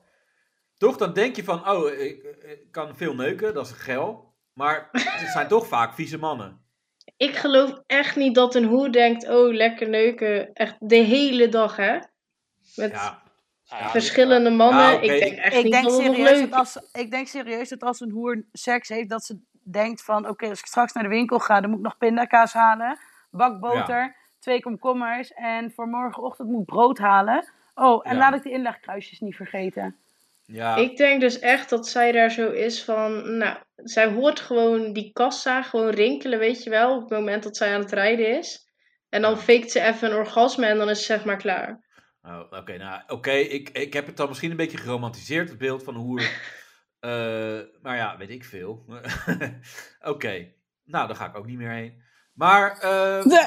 toch, dan denk je van, oh, ik, ik kan veel neuken, dat is geil. Maar het zijn toch vaak vieze mannen.
Ik geloof echt niet dat een hoer denkt, oh lekker neuken. Echt de hele dag hè. Met
Ja,
nou ja,
verschillende mannen.
Ja, Nou, oké.
Ik denk echt
Ik
niet
denk,
dat het nog
serieus dat
leuk is.
als, ik denk serieus dat als een hoer seks heeft, dat ze denkt van... Oké, als ik straks naar de winkel ga, dan moet ik nog pindakaas halen. Bak boter, twee komkommers. En voor morgenochtend moet ik brood halen. Oh, en
Ja.
laat ik de inlegkruisjes niet vergeten.
ja,
Ik denk dus echt dat zij daar zo is van, nou, zij hoort gewoon die kassa gewoon rinkelen, weet je wel, op het moment dat zij aan het rijden is. En dan
Ja.
faked ze even een orgasme en dan is ze zeg maar klaar.
Oh, oké, nou, oké, ik, ik heb het dan misschien een beetje geromantiseerd, het beeld van een hoer. Eh, maar ja, weet ik veel. oké, nou, daar ga ik ook niet meer heen. Maar, eh,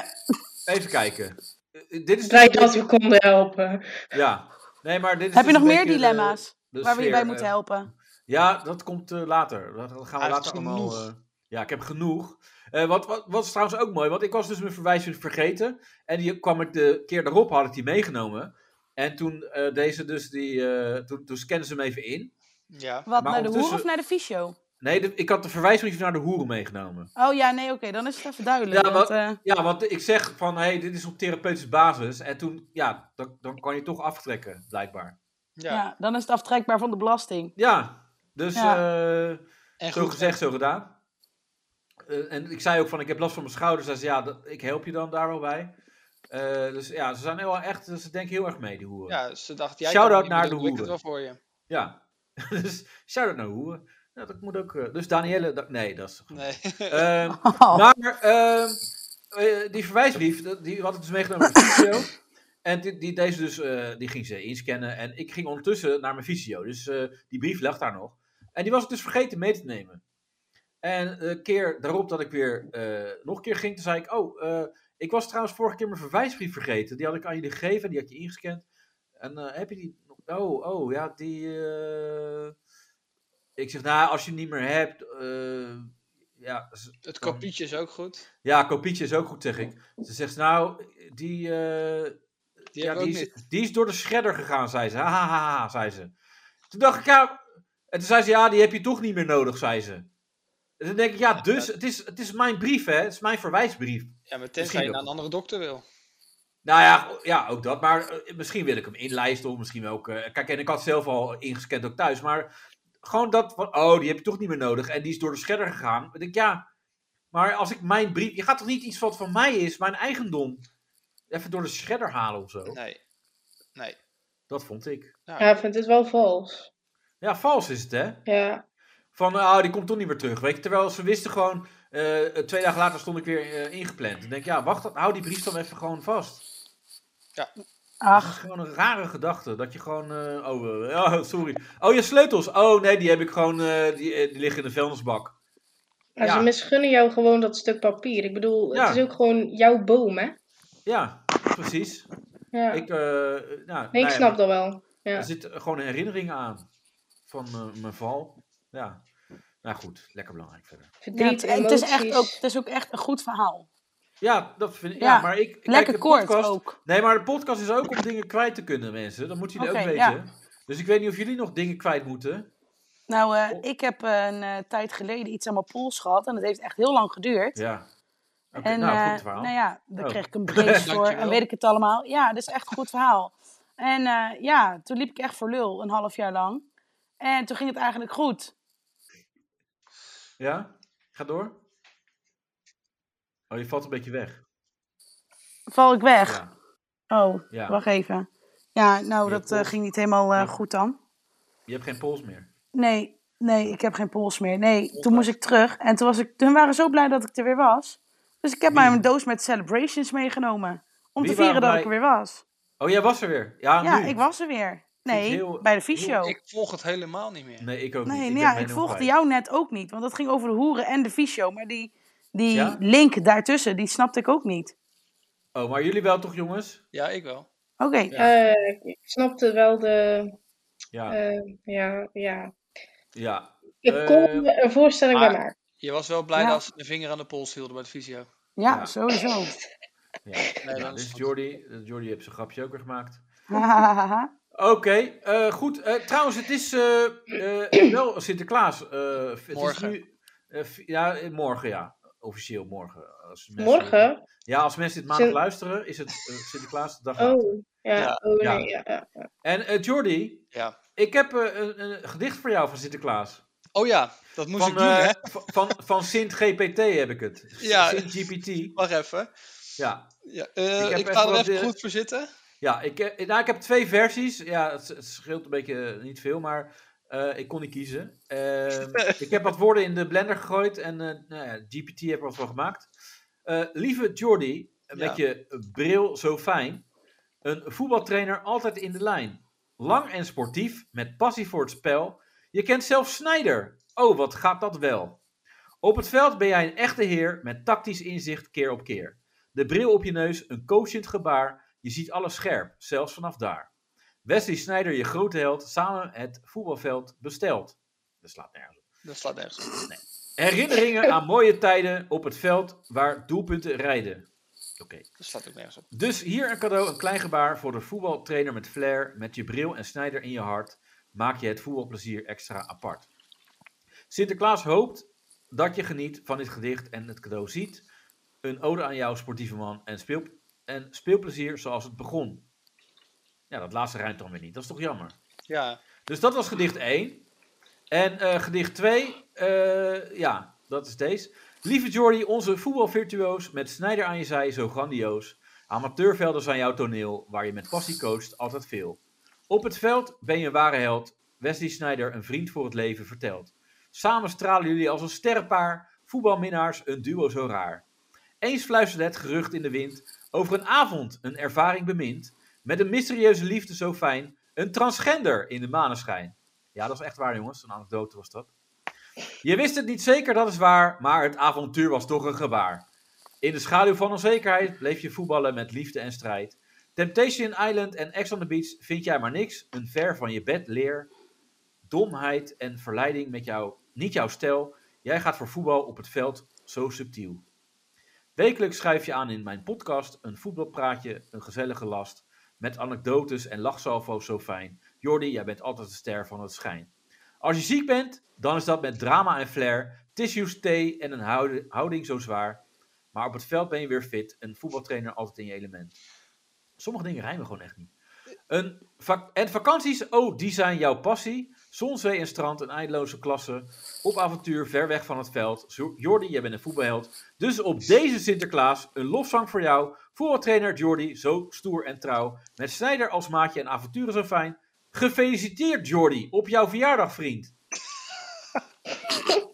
even kijken. Eh, dit is dus
Blij
een
dat
beetje-
we konden helpen.
Ja, nee, maar dit is
Heb je
dus
nog
een
meer
beetje de-
dilemma's
de
waar we je
sfeer,
bij
eh,
moeten helpen?
Ja, dat komt eh, later. Dat dat gaan we
Hij heeft
later allemaal.
genoeg.
eh, ja, ik heb genoeg. Eh, wat, wat, wat is trouwens ook mooi, want ik was dus mijn verwijzing vergeten. En die kwam ik de keer daarop, had ik die meegenomen. En toen, eh, deze dus die, eh, toen, toen scannen ze hem even in.
ja.
Wat,
maar
naar de hoer of
ondertussen-
naar de fysio?
Nee, de- ik had de verwijsbrief naar de hoeren meegenomen.
Oh ja, nee, oké, dan is het even duidelijk.
Ja,
want,
maar-
eh,
Ja, want ik zeg van, hé, hey, dit is op therapeutische basis. En toen, ja, dan, dan kan je toch aftrekken, blijkbaar.
ja.
Ja.
dan is het aftrekbaar van de belasting.
Ja, dus
Ja.
eh,
En
zo
goed,
gezegd, zo gedaan. Eh, en ik zei ook van, ik heb last van mijn schouders. Zij zei, ja, dat- ik help je dan daar wel bij. Eh, dus ja, ze zijn heel echt, ze denken heel erg mee, die hoeren.
eh, ja, ze dacht, jij
Shout-out
kan het niet
naar
meer
de
doen, doe ik het wel
hoeren.
voor je.
Ja, dus shout-out naar hoeren. Ja, dat moet ook... eh, dus Danielle... da- nee, dat is...
Nee.
Ehm,
Oh,
Maar ehm, eh, die verwijsbrief, dat- die had ik dus meegenomen naar de fysio. En die, die, deze dus, eh, die ging ze inscannen. En ik ging ondertussen naar mijn fysio. Dus eh, die brief lag daar nog. En die was ik dus vergeten mee te nemen. En een keer daarop dat ik weer eh, nog een keer ging, toen zei ik... Oh, eh, ik was trouwens vorige keer mijn verwijsbrief vergeten. Die had ik aan jullie gegeven, die had je ingescand. En eh, heb je die... nog- Oh, oh, ja, die... eh, Ik zeg, nou, als je hem niet meer hebt... eh, ja,
Het kopietje is ook goed.
ja, kopietje is ook goed, zeg ik. Ze zegt, nou, die, eh, ja,
Die hebben we
die,
ook niet.
is, die is door de shredder gegaan, zei ze. Ha, ha, ha, ha, zei ze. Toen dacht ik, ja... En toen zei ze, ja, die heb je toch niet meer nodig, zei ze. En toen denk ik, ja, dus, het is, het is mijn brief, hè. Het is mijn verwijsbrief.
Ja, maar
Misschien
tenzij je
ook.
naar een andere dokter wil.
Nou ja, ja, ook dat. Maar eh, misschien wil ik hem inlijsten of misschien ook... eh, kijk, en ik had zelf al ingescand ook thuis. Maar gewoon dat van, oh, die heb je toch niet meer nodig. En die is door de shredder gegaan. Ik denk, ja, maar als ik mijn brief... Je gaat toch niet iets wat van mij is, mijn eigendom... Even door de shredder halen of zo?
Nee. Nee.
Dat vond ik.
Ja, ik vind het wel vals.
Ja, vals is het, hè?
Ja,
Van, oh, die komt toch niet meer terug. Weet je, terwijl ze wisten gewoon... eh, twee dagen later stond ik weer eh, ingepland. Ik denk, ja, wacht, hou die brief dan even gewoon vast. Het
ach,
is gewoon een rare gedachte. Dat je gewoon. eh, oh, eh, oh, sorry. Oh, je sleutels. Oh, nee, die heb ik gewoon. eh, die, eh, die liggen in de vuilnisbak.
maar
Ja.
ze misgunnen jou gewoon dat stuk papier. Ik bedoel,
Ja.
het is ook gewoon jouw boom, hè?
Ja, precies.
Ja.
Ik, eh, nou,
nee, ik
nou ja,
snap dat wel. Ja.
Er zit gewoon een herinnering aan van eh, mijn val. Ja. Nou goed, lekker belangrijk verder.
ja,
Verdriet,
het, het is echt
emoties.
ook, het is ook echt een goed verhaal.
Ja, dat vind ik. Ja,
Ja,
maar ik. kijk,
Lekker
de
kort
podcast-
ook.
Nee, maar de podcast is ook om dingen kwijt te kunnen, mensen. Dat moeten jullie
Oké,
ook
ja.
weten. Dus ik weet niet of jullie nog dingen kwijt moeten.
Nou, eh,
Oh.
ik heb eh, een eh, tijd geleden iets aan mijn pols gehad en het heeft echt heel lang geduurd.
Ja. Oké,
en
nou, goed
eh,
verhaal.
nou ja, daar
Oh.
kreeg ik een brace voor en
Dankjewel.
weet ik het allemaal. Ja, dat is echt een goed verhaal. En eh, ja, toen liep ik echt voor lul een half jaar lang. En toen ging het eigenlijk goed.
Ja? Ga door. Oh, je valt een beetje weg.
Val ik weg.
Ja.
Oh,
ja.
wacht even. Ja, nou,
Je
dat eh,
pols.
ging niet helemaal eh,
Ja.
goed dan.
Je hebt geen pols meer.
Nee, nee, ik heb geen pols meer. Nee, toen moest ik terug. En toen, was ik, toen waren ze zo blij dat ik er weer was. Dus ik heb
Wie?
mij een doos met celebrations meegenomen. Om
Wie
te vieren
waren
dat ik er
blij?
weer was.
Oh, jij was er weer. Ja,
ja,
nu.
ik was er weer. Nee,
heel-
bij de fysio.
Ik volg het helemaal niet meer.
Nee, ik ook
nee,
niet.
nou
ben
ja,
mijn
ik
heel
volgde
kwijt.
jou net ook niet. Want dat ging over de hoeren en de fysio. Maar die, die
Ja?
link daartussen, die snapte ik ook niet.
Oh, maar jullie wel toch, jongens?
Ja, ik wel.
Oké,
Eh, ik snapte wel de...
Ja.
eh, ja, ja.
ja.
Ik
Eh,
kon me een voorstelling
maar-
bij maken.
Je was wel blij
Ja.
dat ze de vinger aan de pols hielden bij de fysio.
ja,
Ja.
sowieso.
ja.
Nee,
Ja,
dat
dit
is
is
goed.
Jordi. Eh, Jordi heeft zijn grapje ook weer gemaakt.
Hahaha.
Oké, eh, goed. Eh, trouwens, het is eh, eh, wel Sinterklaas. eh, het is
Morgen.
nu, eh, vi- ja, eh, morgen, ja. Officieel morgen. Als mensen-
Morgen?
Ja, als mensen dit maandag
Sin-
luisteren, is het eh, Sinterklaas de dag later.
Oh, ja.
Ja.
Oh,
Ja.
nee, ja, ja.
En eh, Jordi,
Ja.
ik heb eh, een, een gedicht voor jou van Sinterklaas.
Oh ja, dat moest
Van,
ik doen,
eh,
hè?
van, van, van Sint GPT heb ik het.
Ja.
Sint GPT.
Wacht even.
Ja,
Ja, eh,
Ik
ik
heb
ga
even
er
wat,
even
eh,
goed voor zitten.
ja ik, eh, nou, ik heb twee versies. Ja, het, het scheelt een beetje eh, niet veel, maar eh, ik kon niet kiezen. Ehm, ik heb wat woorden in de blender gegooid en eh, nou ja, GPT heb er wat van gemaakt. Eh, lieve Jordi, met je bril zo fijn. Een voetbaltrainer altijd in de lijn. Lang en sportief, met passie voor het spel. Je kent zelfs Snijder. Oh, wat gaat dat wel. Op het veld ben jij een echte heer met tactisch inzicht keer op keer. De bril op je neus, een coachend gebaar. Je ziet alles scherp, zelfs vanaf daar. Wesley Snijder, je grote held, samen het voetbalveld besteld. Dat slaat nergens op.
Dat slaat nergens op.
Herinneringen aan mooie tijden op het veld waar doelpunten rijden. Oké.
Dat slaat ook nergens op.
Dus hier een cadeau, een klein gebaar voor de voetbaltrainer met flair, met je bril en snijder in je hart, maak je het voetbalplezier extra apart. Sinterklaas hoopt dat je geniet van dit gedicht en het cadeau ziet. Een ode aan jou, sportieve man, en, speel, en speelplezier zoals het begon. Ja, dat laatste rijmt dan weer niet. Dat is toch jammer.
Ja,
Dus dat was gedicht 1. En eh, gedicht 2, eh, ja, dat is deze. Lieve Jordy, onze voetbalvirtuoos, met Snijder aan je zij, zo grandioos. Amateurvelden zijn jouw toneel, waar je met passie coacht altijd veel. Op het veld ben je een ware held. Wesley Snijder, een vriend voor het leven, vertelt. Samen stralen jullie als een sterrenpaar, voetbalminnaars, een duo zo raar. Eens fluisterde het gerucht in de wind, over een avond, een ervaring bemind. Met een mysterieuze liefde zo fijn. Een transgender in de maneschijn. Ja, dat is echt waar, jongens. Een anekdote was dat. Je wist het niet zeker, dat is waar. Maar het avontuur was toch een gebaar. In de schaduw van onzekerheid bleef je voetballen met liefde en strijd. Temptation Island en Ex on the Beach vind jij maar niks. Een ver van je bed leer. Domheid en verleiding met jou, niet jouw stijl. Jij gaat voor voetbal op het veld zo subtiel. Wekelijks schrijf je aan in mijn podcast. Een voetbalpraatje, een gezellige last. Met anekdotes en lachsalvo's zo fijn. Jordi, jij bent altijd de ster van het schijn. Als je ziek bent, dan is dat met drama en flair, tissues, thee en een houden- houding zo zwaar. Maar op het veld ben je weer fit, een voetbaltrainer altijd in je element. Sommige dingen rijmen gewoon echt niet. Een va- en vakanties, oh, die zijn jouw passie. Zon, zee en strand, een eindeloze klasse. Op avontuur, ver weg van het veld. Zo- Jordi, jij bent een voetbalheld. Dus op deze Sinterklaas, een lofzang voor jou. Voetbaltrainer Jordi, zo stoer en trouw. Met Snijder als maatje en avonturen zo fijn. Gefeliciteerd Jordi, op jouw verjaardag vriend.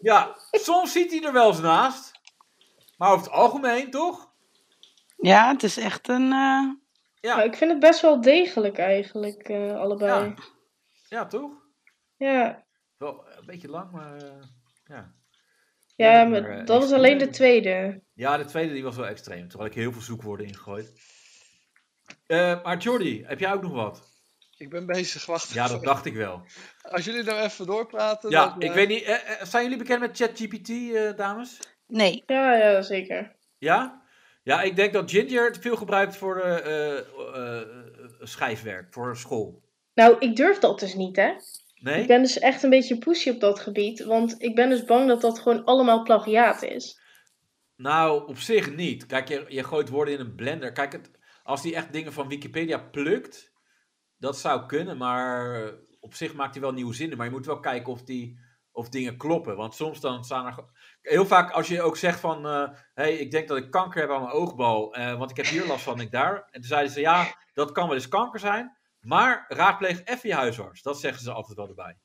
ja, soms ziet hij er wel eens naast. Maar over het algemeen, toch?
Ja, het is echt een. eh,
Nou, ik vind het best wel degelijk eigenlijk, eh, allebei.
Ja, ja toch?
Ja,
Wel een beetje lang, maar eh, ja.
ja,
Ja,
maar
maar, eh,
dat
ik
was
zie
alleen
het.
de tweede.
Ja, de tweede die was wel extreem. Terwijl ik heel veel zoekwoorden ingegooid. Eh, maar Jordi, heb jij ook nog wat?
ik ben bezig. Wacht.
Ja, dat dacht ik wel.
Als jullie nou even doorpraten.
Ja,
dan,
ik
eh,
weet niet. eh, eh, zijn jullie bekend met ChatGPT, eh, dames?
nee.
Ja, ja, zeker.
Ja? Ja, ik denk dat Ginger het veel gebruikt voor eh, eh, eh, schrijfwerk, voor school.
Nou, ik durf dat dus niet, hè.
Nee?
Ik ben dus echt een beetje pussy op dat gebied. Want ik ben dus bang dat dat gewoon allemaal plagiaat is.
Nou, op zich niet. Kijk, je, je gooit woorden in een blender. Kijk, het, als hij echt dingen van Wikipedia plukt, dat zou kunnen, maar eh, op zich maakt hij wel nieuwe zinnen. Maar je moet wel kijken of, die, of dingen kloppen. Want soms dan staan er. ge- Heel vaak als je ook zegt van, eh, hey, ik denk dat ik kanker heb aan mijn oogbal, eh, want ik heb hier last van, ik daar. En toen zeiden ze, ja, dat kan wel eens kanker zijn, maar raadpleeg even je huisarts. Dat zeggen ze altijd wel erbij.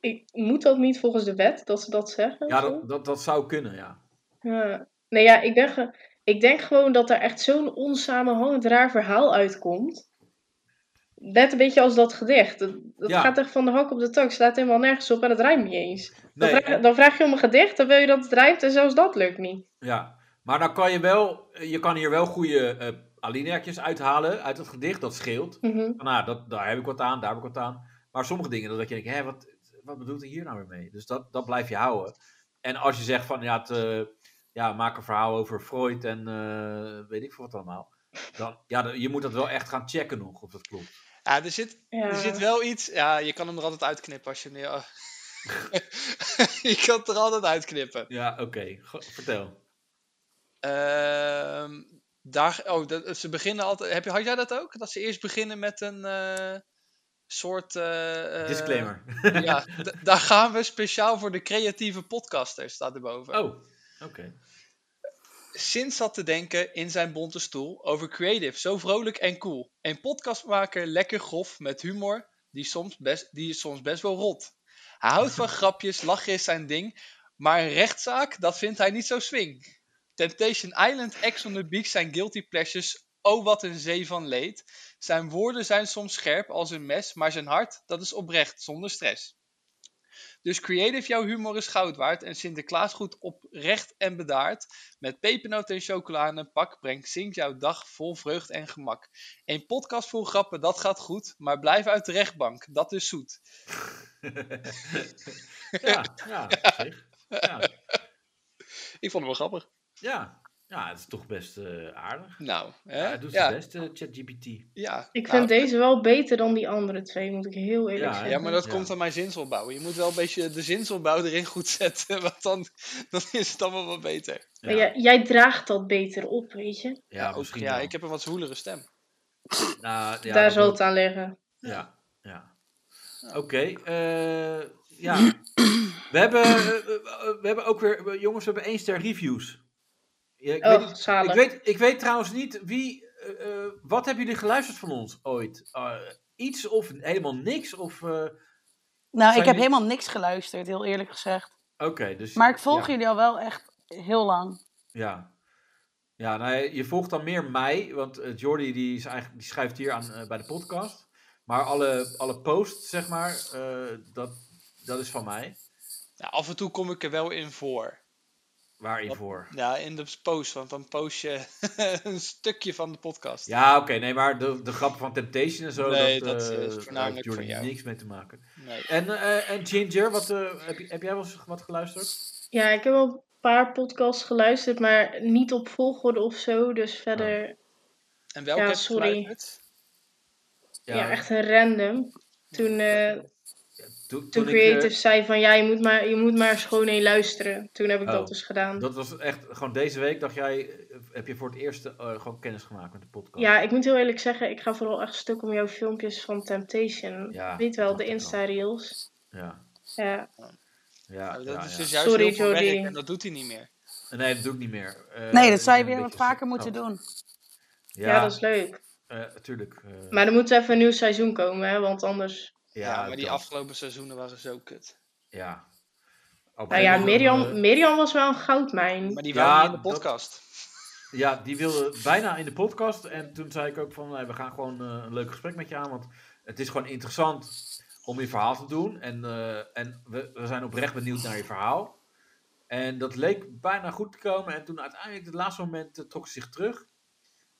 Ik, moet dat niet volgens de wet, dat ze dat zeggen?
Ja,
of zo?
dat, dat, dat zou kunnen, ja.
Ja. Nee, ja, ik, ben ge- ik denk gewoon dat er echt zo'n onsamenhangend raar verhaal uitkomt. Net een beetje als dat gedicht. Dat, dat
Ja.
gaat echt van de hak op de tak. Slaat helemaal nergens op en het rijmt niet eens. Dan,
Nee,
vraag, dan vraag je om een gedicht, dan wil je dat het rijmt en zelfs dat lukt niet.
Ja, maar dan kan je wel, eh, je kan hier wel goede eh alineaatjes uithalen uit het gedicht, dat scheelt.
Mhm.
Van, nou, dat, daar heb ik wat aan, daar heb ik wat aan. Maar sommige dingen, dat je denkt, hé, wat, wat bedoelt hij hier nou weer mee? Dus dat, dat blijf je houden. En als je zegt van, ja, het, eh, ja maak een verhaal over Freud en eh, weet ik veel wat allemaal. Dan, ja, dan- je moet dat wel echt gaan checken nog, of dat klopt.
ja, er, zit,
Ja.
er zit wel iets. Ja, je kan hem er altijd uitknippen als je hem. neer- je kan het er altijd uitknippen.
Ja, oké, Go- vertel.
Ehm, daar, oh, dat, ze beginnen altijd. Heb je, had jij dat ook? Dat ze eerst beginnen met een eh, soort. eh, eh,
Disclaimer.
Ja, d- daar gaan we speciaal voor de creatieve podcasters, staat erboven.
Oh, oké.
Sint zat te denken in zijn bonte stoel over creative, zo vrolijk en cool. Een podcastmaker lekker grof met humor, die, soms best, die is soms best wel rot. Hij houdt van grapjes, lachen is zijn ding, maar een rechtszaak, dat vindt hij niet zo swing. Temptation Island, Ex on the Beach zijn guilty pleasures, oh wat een zee van leed. Zijn woorden zijn soms scherp als een mes, maar zijn hart, dat is oprecht, zonder stress. Dus creative, jouw humor is goud waard en Sinterklaas goed oprecht en bedaard. Met pepernoten en chocola in een pak brengt Sink jouw dag vol vreugd en gemak. Een podcast vol grappen, dat gaat goed, maar blijf uit de rechtbank, dat is zoet.
ja, ja, op zich. Ja,
Ik vond hem wel grappig.
ja. Ja, het is toch best eh, aardig.
Nou, hè?
Ja, hij doet
ja,
zijn best, eh, ChatGPT.
ja.
Ik
Nou,
vind deze wel beter dan die andere twee, moet ik heel eerlijk
Ja, hè?
zeggen.
Ja, maar dat
Ja.
komt aan mijn zinsopbouw. Je moet wel een beetje de zinsopbouw erin goed zetten, want dan, dan is het allemaal wat beter.
Ja,
Maar jij- jij draagt dat beter op, weet je.
ja,
ook-
misschien
ja
wel.
ik heb een wat zwoelere stem.
Nou, ja,
Daar
dat
zal
wil-
het aan liggen.
Ja, ja. Oké, eh, ja. We hebben, eh, eh, eh, we hebben ook weer, we- jongens, we hebben één ster reviews. Ja, ik,
Oh,
weet, niet-
zalig.
ik, weet, ik weet trouwens niet wie, eh, eh, wat hebben jullie geluisterd van ons ooit? Eh, iets of helemaal niks? Of, eh, Oké,
Nou,
Zijn
ik heb
jullie-
helemaal niks geluisterd, heel eerlijk gezegd.
dus...
Maar ik volg
ja, Eh,
jullie al wel echt heel lang.
Ja. Ja, nou, je- je volgt dan meer mij, want eh, Jordi die, is eigenlijk, die schrijft hier aan eh, bij de podcast. Maar alle, alle posts, zeg maar, eh, dat, dat is van mij.
Nou, af en toe kom ik er wel in voor.
Waarin voor?
Ja, in de post, want dan post je een stukje van de podcast.
Ja, oké, nee, maar de, de grap van Temptation en zo.
Nee,
dat,
dat
eh,
is
daar
voornamelijk
heeft Jordi
van jou.
niks mee te maken.
Nee.
En, eh, en Ginger, wat, eh, heb, je- heb jij wel eens wat geluisterd?
Ja, ik heb wel een paar podcasts geluisterd, maar niet op volgorde of zo. Dus verder,
En welke
Ja,
heb je
sorry.
geluisterd?
ja, echt een random. Toen, eh,
Toen, toen
toen
ik, eh,
Creative zei van, ja, je moet maar, je moet maar eens gewoon één luisteren. Toen heb ik
Oh,
dat dus gedaan.
dat was echt, gewoon deze week dacht jij, eh, heb je voor het eerst eh, gewoon kennis gemaakt met de podcast.
Ja, ik moet heel eerlijk zeggen, ik ga vooral echt stuk om jouw filmpjes van Temptation.
Ja,
Weet wel,
dat
de
wel.
Insta-reels.
Ja,
Ja,
ja,
Nou, dat
ja,
is
ja.
dus juist
Sorry,
heel veel
Jordi.
werk en dat doet hij niet meer.
Nee, dat doe ik niet meer. Eh,
Nee, dat
ik
zou je
ben
weer
een
wat
beetje Oh.
vaker moeten
gestopt.
doen.
ja.
Ja,
dat is leuk.
natuurlijk. eh,
Maar er moet even een nieuw seizoen komen, hè, want anders...
Ja, maar die
dat-
afgelopen seizoenen waren zo kut.
Ja. Oh, Op
Nou ja,
een of andere-
Mirjam, Mirjam was wel een goudmijn.
Maar die
Ja,
waren niet in de
dat-
podcast.
Ja, die wilde bijna in de podcast. En toen zei ik ook van, nee, we gaan gewoon eh, een leuk gesprek met je aan. Want het is gewoon interessant om je verhaal te doen. En, eh, en we, we zijn oprecht benieuwd naar je verhaal. En dat leek bijna goed te komen. En toen uiteindelijk, het laatste moment, eh, trok ze zich terug.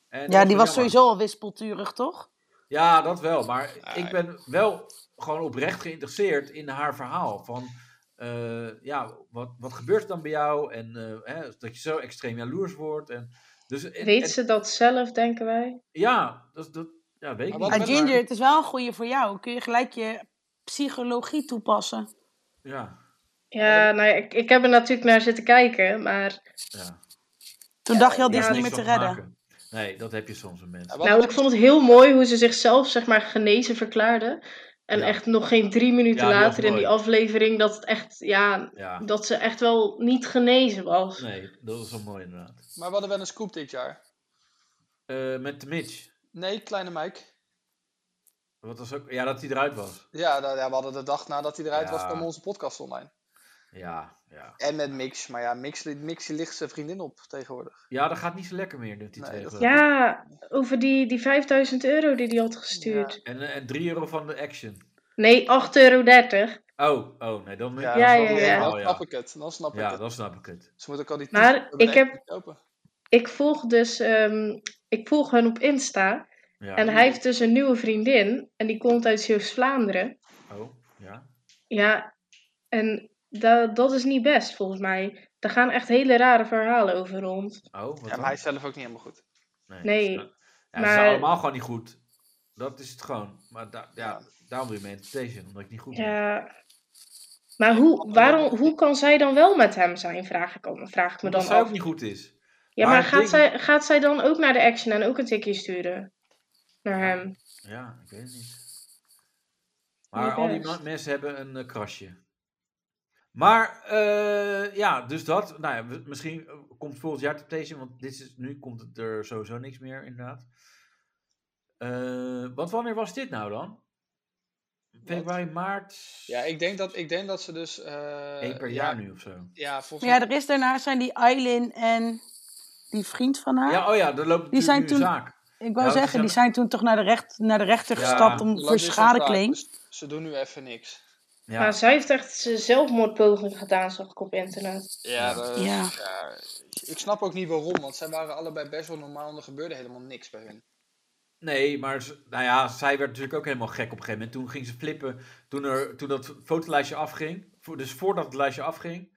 En dat
Ja, die
wel
was
jammer.
sowieso al wispelturig, toch?
Ja, dat wel. Maar
Ah,
ik ben wel gewoon oprecht geïnteresseerd in haar verhaal. Van, eh, ja, wat, wat gebeurt er dan bij jou? En eh, hè, dat je zo extreem jaloers wordt. En, dus, en-
Weet
en-
ze dat zelf, denken wij?
Ja, dat, dat ja, weet ik
Maar
niet.
wat-
Maar Ginger, het is wel een goede voor jou. Kun je gelijk je psychologie toepassen.
Ja,
Ja, nou ja, ik, ik heb er natuurlijk naar zitten kijken, maar...
ja.
Toen dacht je al,
Daar
dit
is
is niet
niks
meer te
van
redden.
maken. Nee, dat heb je soms een mens.
Ja, wat-
Nou, ik vond het heel mooi hoe ze zichzelf, zeg maar, genezen verklaarde. En
Ja.
echt nog geen drie minuten
Ja, die was
later in die
mooi.
aflevering dat het echt, ja...
Ja,
Dat ze echt wel niet genezen was.
nee, dat is wel mooi inderdaad.
Maar we hadden wel een scoop dit jaar.
Eh, met de Mitch.
Nee, kleine Mike.
Wat was ook, ja, dat hij eruit was.
Ja, nou, ja, we hadden de dag nadat hij eruit was,
Ja.
kwam onze podcast online.
Ja, ja.
En met Mix, maar ja, Mix, Mix die ligt zijn vriendin op tegenwoordig.
Ja, dat gaat niet zo lekker meer. Die
Nee,
twee
dat-
geloof ik.
Ja, over die, die 5000 euro die hij had gestuurd.
En, eh, en 3 euro van de action.
Nee, 8,30
Oh,
euro.
oh, nee, dan,
Ja,
dan
ja,
snap
dan,
ik
ja,
het
ja.
wel,
Dan snap ik het, dan snap ik
Oh, Ja,
het.
dan snap ik het.
Ze moet ook al die
Maar
tientjes hebben
ik
en
heb-
even kopen.
Ik volg dus, ehm, ik volg hun op Insta.
Ja.
En hij heeft dus een nieuwe vriendin. En die komt uit Zeeuws-Vlaanderen.
Oh, ja.
Ja, en da dat is niet best volgens mij. Daar gaan echt hele rare verhalen over rond.
Oh, wat
Ja,
dan?
maar hij is zelf ook niet helemaal goed.
Nee,
Ja, ja, Ze
maar-
zijn allemaal gewoon niet goed. Dat is het gewoon. Maar da ja, daarom doe je me entertainment, omdat ik niet goed ben.
Ja. Maar hoe, waarom, hoe kan zij dan wel met hem zijn, vraag ik, al- vraag ik me
Omdat
dan
zij
af.
ook niet goed is.
Ja,
maar
maar
het
gaat
ding-
zij, gaat zij dan ook naar de action en ook een tikje sturen? Naar hem.
Ja, ik weet het niet. Maar
Niet
al die
best.
ma- mensen hebben een eh, krasje. Maar eh, ja, dus dat. Nou ja, we- misschien eh, komt volgend jaar Temptation, want dit is, nu komt het er sowieso niks meer, inderdaad. Eh want wanneer was dit nou dan? Februari, maart?
Ja, ik denk dat, ik denk dat ze dus... eh
Eén per
ja,
jaar nu of zo.
Ja, volgens
Maar ja,
mij.
er is daarna zijn die Eileen en die vriend van haar.
Ja, oh ja, er loopt
Die
natuurlijk
zijn
nu een
toen-
zaak.
ik
ja,
wou
dat
zeggen,
zijn-
die zijn toen toch naar de, recht, naar de rechter
Ja,
gestapt
er
om,
loopt
voor
nu zo'n
schadeclaim.
zaak, dus ze doen nu even niks.
Ja.
Maar zij heeft echt z- zelfmoordpoging gedaan, zag ik op internet.
Ja,
Ja.
dat-
Ja.
ja, ik snap ook niet waarom, want zij waren allebei best wel normaal en er gebeurde helemaal niks bij hun.
Nee, maar ze- nou ja, zij werd natuurlijk ook helemaal gek op een gegeven moment. Toen ging ze flippen, toen, er, toen dat fotolijstje afging. Voor, dus voordat het lijstje afging,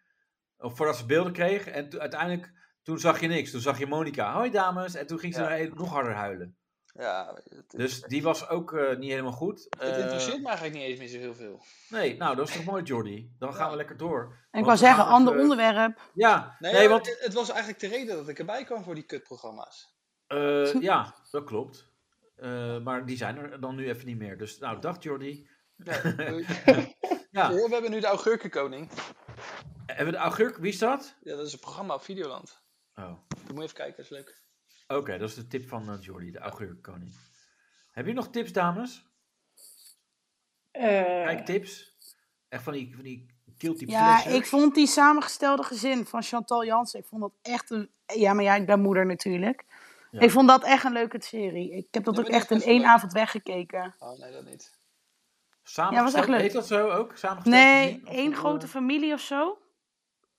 of voordat ze beelden kreeg. En to- uiteindelijk Toen zag je niks. Toen zag je Monica. Hoi dames. En toen ging ze
Ja.
nog even- nog harder huilen.
Ja, het,
Dus die was ook eh, niet helemaal goed.
het
Eh,
interesseert me eigenlijk niet eens meer zo heel veel.
Nee, nou dat is toch mooi Jordi. Dan gaan
Ja.
we lekker door.
En ik
Want
wou
we
zeggen,
gaan
ander
even-
onderwerp.
Ja,
Nee,
nee,
maar
want...
het, het was eigenlijk de reden dat ik erbij kwam voor die kutprogramma's.
eh, ja, dat klopt. Eh, maar die zijn er dan nu even niet meer. Dus nou, dag Jordi.
Nee, doei.
Ja,
We hebben nu de Augurkenkoning.
hebben we de augurk? Wie is dat?
Ja, dat is een programma op Videoland.
Oh.
Moet je even kijken, dat is leuk.
Oké, dat is de tip van eh, Jordi, de augurkkoning. Heb je nog tips, dames?
Eh,
Kijk, tips. Echt van die, van die guilty
Ja,
pleasure.
ik vond die samengestelde gezin van Chantal Jansen. Ik vond dat echt een. Ja, maar ja, ik ben moeder natuurlijk.
Ja.
Ik vond dat echt een leuke serie. Ik heb dat
Ja,
ook
maar die
echt
is
in
best wel
één
leuk.
avond weggekeken.
Oh nee, dat niet.
Samengesteld,
was echt leuk.
Heet dat zo ook? Samengesteld
Nee,
gezin? Of,
één
eh,
grote familie of zo.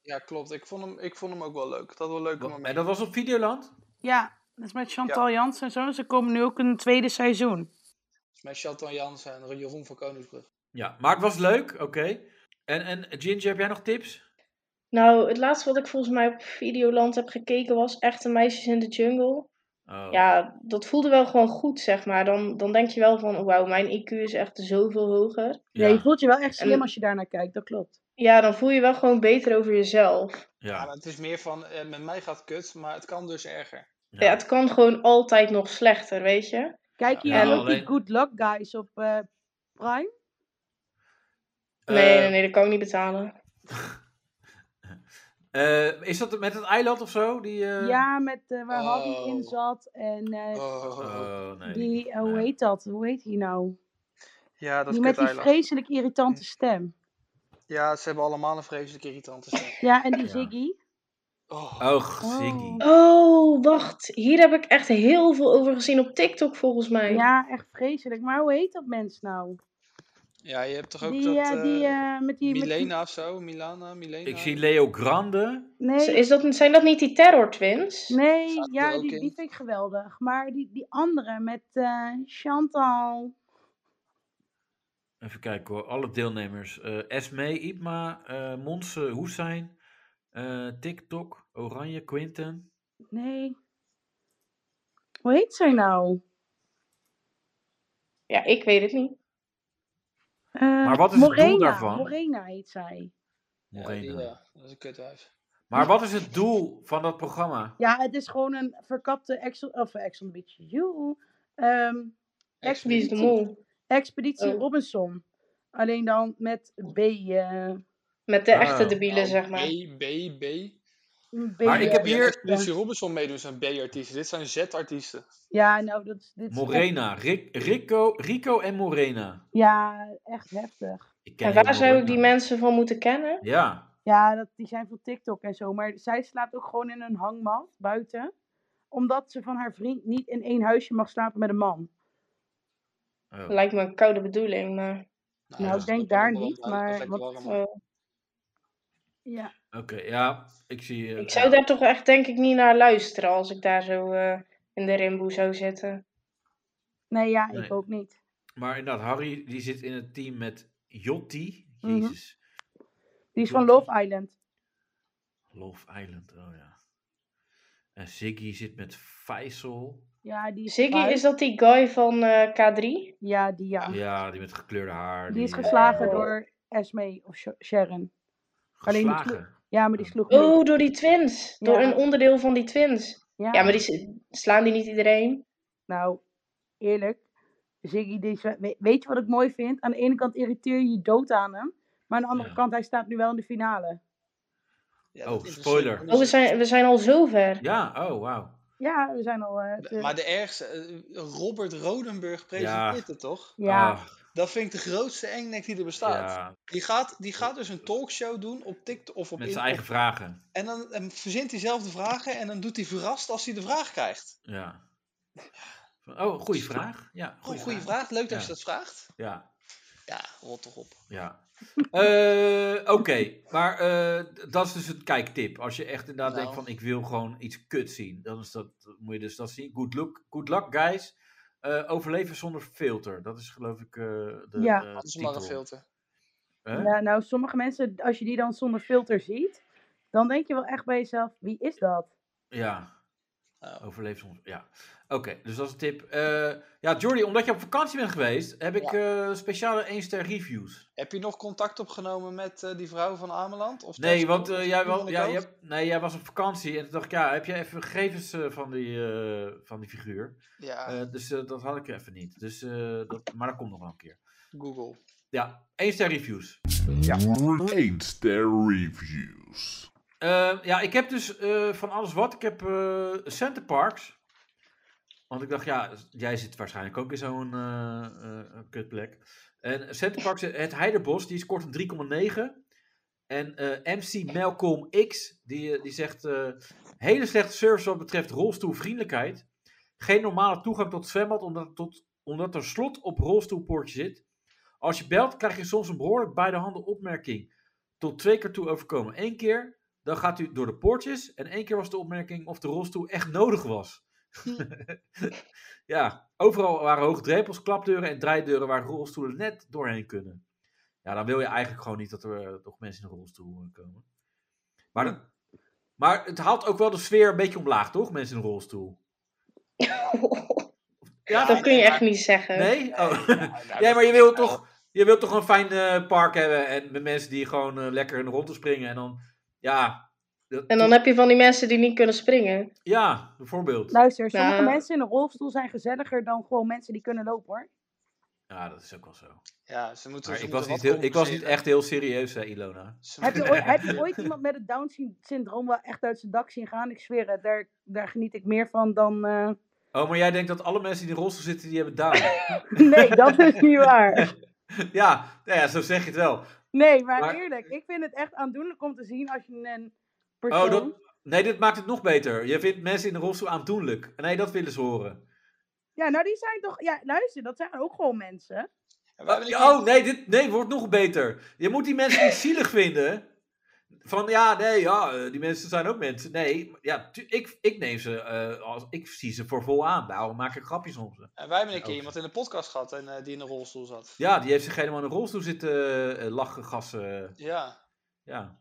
Ja, klopt. Ik vond hem, ik vond hem ook wel leuk. Dat had wel leuke
wa-
momenten.
En dat was op Videoland?
Ja, dat is met Chantal Jansen en zo. Ze komen nu ook een tweede seizoen.
Met Chantal Jansen en Jeroen van Koningsbrug.
Ja, maar het was leuk, oké. En, en Ginger, heb jij nog tips?
Nou, het laatste wat ik volgens mij op Videoland heb gekeken was Echte Meisjes in de Jungle.
Oh.
Ja, dat voelde wel gewoon goed, zeg maar. Dan, dan denk je wel van, wauw, mijn IQ is echt zoveel hoger.
Ja. je
ja.
voelt je wel echt
En-
slim als je daarnaar kijkt, dat klopt.
Ja, dan voel je wel gewoon beter over jezelf.
Ja.
ja.
maar het is meer van, eh, met mij gaat kut, maar het kan dus erger.
Ja. het kan gewoon altijd nog slechter, weet je.
Kijk
Ja,
hier ook
alleen-
die Good Luck Guys op eh, Prime?
Nee,
Eh,
nee, nee, dat kan ik niet betalen.
eh, is dat met het eiland of zo? Die, eh,
ja, met, eh, waar Harry
oh.
in zat en eh,
Oh.
Oh, nee.
die, eh, hoe
Nee.
heet dat? Hoe heet die nou?
Ja, dat
die met die vreselijk irritante stem.
Ja, ze hebben allemaal een vreselijk irritante stem.
Ja, en die
Ja.
Ziggy.
Oh.
Oh, Ziggy.
Oh, wacht. Hier heb ik echt heel veel over gezien op TikTok, volgens mij.
Ja, echt vreselijk. Maar hoe heet dat mens nou?
Ja, je hebt toch ook
Die,
dat...
eh, die,
eh,
eh, met die... met die-
Milena of zo? Milana, Milena?
Ik zie Leo Grande.
Z-
nee,
Is dat, zijn dat niet die Terror Twins?
nee
Staat er
ja,
ook
die,
in?
die vind ik geweldig. Maar die, die andere met eh, Chantal.
Even kijken hoor, alle deelnemers. Eh, Esme, Ipma, eh Monse, Hoesijn, eh, TikTok, Oranje, Quinten.
Nee. Hoe heet zij nou?
Ja, ik weet het niet.
Eh,
Maar wat is het doel
Morena,
daarvan?
Morena heet zij.
Ja,
Morena.
die, ja, dat is een kutwijf.
Maar wat is het doel van dat programma?
Ja, het is gewoon een verkapte Excel, of Excel Beach. Joe. Ehm,
Wie is de
Expeditie-
mol?
Expeditie
Oh.
Robinson. Alleen dan met B. eh,
Met de
Ah.
echte debielen,
Oh,
zeg maar.
B, B, B.
een B eh,
Maar ik heb
Ja,
hier-
Lucy Robinson meedoen zijn B-artiesten. Dit zijn Z-artiesten.
Ja, nou, dat is... Dit is echt-
Morena, Rick, Rico, Rico en Morena.
ja, echt heftig.
Ik ken
En
heel
waar zou ik
Morena.
die mensen van moeten kennen?
Ja,
Ja, dat, die zijn van TikTok en zo. Maar zij slaapt ook gewoon in een hangmat buiten. Omdat ze van haar vriend niet in één huisje mag slapen met een man.
Oh.
Lijkt me een koude bedoeling, maar...
Nou,
dat
ik denk
is ook
daar
wel
niet,
waar,
maar
dat is lekker
wat-
warm.
eh,
Ja.
Oh, oké, ja, ik zie... eh,
ik zou
ja.
daar toch echt denk ik niet naar luisteren als ik daar zo eh, in de rimboe zou zitten.
Nee, ja,
Nee.
ik ook niet.
Maar inderdaad, Harry die zit in het team met Jotti.
Mhm.
Jezus,
Die is van
Klopt.
Love Island.
Love Island, oh ja. En Ziggy zit met Faisal.
Ja, die is
Ziggy,
geslaagd.
is dat die guy van eh, K3?
Ja, die ja.
Ja, die met gekleurde haar.
Die is
eh,
geslagen
Oh.
door Esme of Sh- Sharon. alleen die
Geslagen.
Ja, maar die sloeg mee.
Oh, door die twins. Door
Ja.
een onderdeel van die twins.
Ja.
Ja, maar die s- slaan die niet iedereen?
Nou, eerlijk. Ziggy, die is we- we- weet je wat ik mooi vind? Aan de ene kant irriteer je je dood aan hem. Maar aan de andere
Ja.
kant, hij staat nu wel in de finale.
Oh,
Ja, dat dus- interesseert
spoiler.
me niet
Oh, we
zo.
zijn, we zijn al zover.
Ja, oh, wauw.
Ja, we zijn al... eh, te-
Maar de ergste, eh, Robert Rodenburg presenteert het toch?
ja,
Ah,
Dat vind ik de grootste engnek die er bestaat.
ja,
Die, gaat, die gaat dus een talkshow doen op TikTok of op
met
in-
zijn eigen vragen.
En dan eh, verzint hij zelf de vragen en dan doet hij verrast als hij de vraag krijgt.
Ja. Oh, goede Oh, vraag. Ja,
Goeie,
goede
goeie vraag. leuk dat
Ja.
je dat vraagt.
Ja,
Ja, rot toch op.
ja. Eh, Oké, maar eh, dat is dus een kijktip. Als je echt inderdaad
Nou.
denkt van ik wil gewoon iets kut zien, dan is dat, moet je dus dat zien. Good luck, good luck guys. Eh, overleven zonder filter. Dat is geloof ik eh, de
Ja.
eh,
Anders maar
titel.
een filter.
Hè?
ja, nou, sommige mensen, als je die dan zonder filter ziet... Dan denk je wel echt bij jezelf, wie is dat?
Ja.
Oh.
Overleef soms. Ja. Oké, dus dat is een tip. Eh, ja, Jordi, omdat je op vakantie bent geweest, heb ik eh, speciale 1-ster reviews.
Heb je nog contact opgenomen met eh, die vrouw van Ameland? Of
Nee,
thuis-
want eh, jij, wel,
iemand
ja,
aan de
jij, nee, jij was op vakantie en toen dacht ik, ja, heb je even gegevens eh, van, die, eh, van die figuur?
Ja,
Eh, dus eh, dat had ik even niet. Dus, eh, dat, maar dat komt nog wel een keer.
Google.
Ja, 1-ster reviews.
Eens ter reviews.
Eh, ja, ik heb dus eh, van alles wat. Ik heb eh Center Parks. Want ik dacht, ja, jij zit waarschijnlijk ook in zo'n eh, eh, kutplek. En Center Parks, het Heiderbos, die scoort een 3,9. En eh, MC Malcolm X, die, eh, die zegt... eh, hele slechte service wat betreft rolstoelvriendelijkheid. Geen normale toegang tot het zwembad, omdat, tot, omdat er slot op rolstoelpoortje zit. Als je belt, krijg je soms een behoorlijk bij de handen opmerking. Tot twee keer toe overkomen. Eén keer dan gaat u door de poortjes. En één keer was de opmerking of de rolstoel echt nodig was. ja, overal waren hoge drempels, klapdeuren en draaideuren waar rolstoelen net doorheen kunnen. Ja, dan wil je eigenlijk gewoon niet dat er eh, nog mensen in een rolstoel eh, komen. Maar, dat- maar het haalt ook wel de sfeer een beetje omlaag, toch? Mensen in een rolstoel. Ja,
dat kun je echt niet zeggen.
Nee? Oh.
nou,
Ja,
dat-
maar je wilt toch, je wilt toch een fijn eh, park hebben en met mensen die gewoon eh, lekker in de rondte springen. En dan, ja... dat-
En dan heb je van die mensen die niet kunnen springen.
Ja, bijvoorbeeld.
Luister, sommige
Nou.
mensen in een rolstoel zijn gezelliger dan gewoon mensen die kunnen lopen hoor.
Ja, dat is ook wel zo.
Ja, ze moeten.
Maar
ze
ik,
moeten
was
wat
niet heel, ik was niet
compenseren.
echt heel serieus, zei Ilona.
Ze
Heb je,
moeten-
ooit, heb je ooit iemand met het Down syn- syndroom wel echt uit zijn dak zien gaan? Ik zweer het, daar, daar geniet ik meer van dan. eh,
Oh, maar jij denkt dat alle mensen die in de rolstoel zitten, die hebben Down.
Nee, dat is niet waar.
ja, nou ja, zo zeg je het wel.
Nee, maar,
Maar-
eerlijk, ik vind het echt aandoenlijk om te zien als je een persoon.
Oh, dat, nee, dit maakt het nog beter. Je vindt mensen in de rolstoel aandoenlijk. Nee, dat willen ze horen.
Ja, nou die zijn toch. Ja, luister, dat zijn ook gewoon mensen.
We hebben een
Oh, nee, dit nee, wordt nog beter. Je moet die mensen niet zielig vinden. Van ja, nee, ja, eh, die mensen zijn ook mensen. Nee, ja, tu- ik, ik neem ze, eh, als, ik zie ze voor vol aan. Daarom maak ik grapjes om ze.
En wij hebben een keer
Oh.
iemand in de podcast gehad en, eh, die in een rolstoel zat.
Ja, die heeft zich helemaal in de rolstoel zitten eh, lachen, gassen.
Ja.
Ja.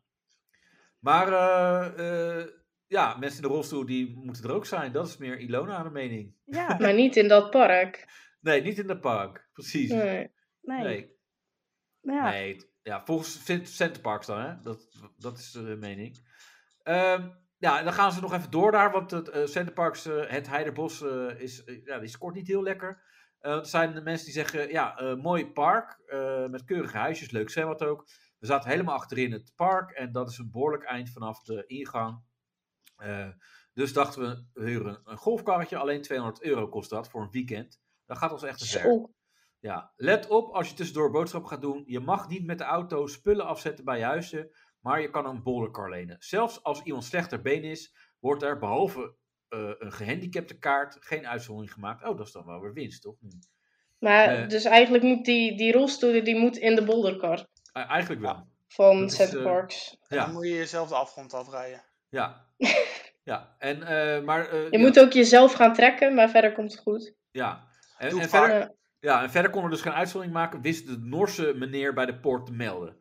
Maar eh, eh, ja, mensen in de rolstoel die moeten er ook zijn. Dat is meer Ilona de mening.
Ja,
Maar niet in dat park.
Nee, niet in het park. Precies. Nee.
Nee.
nee.
Nee.
Ja.
Ja, volgens Cent- Centerparks dan, hè? Dat, dat is de mening. Ehm, ja, en dan gaan ze nog even door daar, want het eh, Centerparks, eh, het Heiderbos, eh, is, eh, ja, die scoort niet heel lekker. Eh, er zijn de mensen die zeggen, ja, eh, mooi park, eh, met keurige huisjes, leuk zwembad ook. We zaten helemaal achterin het park en dat is een behoorlijk eind vanaf de ingang. Eh, dus dachten we, we huren een golfkarretje, alleen 200 euro kost dat voor een weekend. Dat gaat ons echt te ver.
Zo.
Ja, let op als je tussendoor boodschap gaat doen. Je mag niet met de auto spullen afzetten bij je huizen, maar je kan een bolderkar lenen. Zelfs als iemand slechter been is, wordt er behalve eh, een gehandicapte kaart geen uitzondering gemaakt. Oh, dat is dan wel weer winst, toch? Nu. E-,
Maar
Nee.
dus eigenlijk moet die, die rolstoel die moet in de bolderkar
Eh, eigenlijk wel.
van
Dat is,
Center
eh,
Parks.
Dan
Ja,
moet je jezelf de afgrond afrijden.
ja. Ja, en, eh, maar, eh,
Je
ja,
moet ook jezelf gaan trekken, maar verder komt het goed.
ja. En,
Doe
en
maar.
verder,
Ja.
Ja, en verder kon er dus geen uitzondering maken, wist de Norse meneer bij de poort te melden.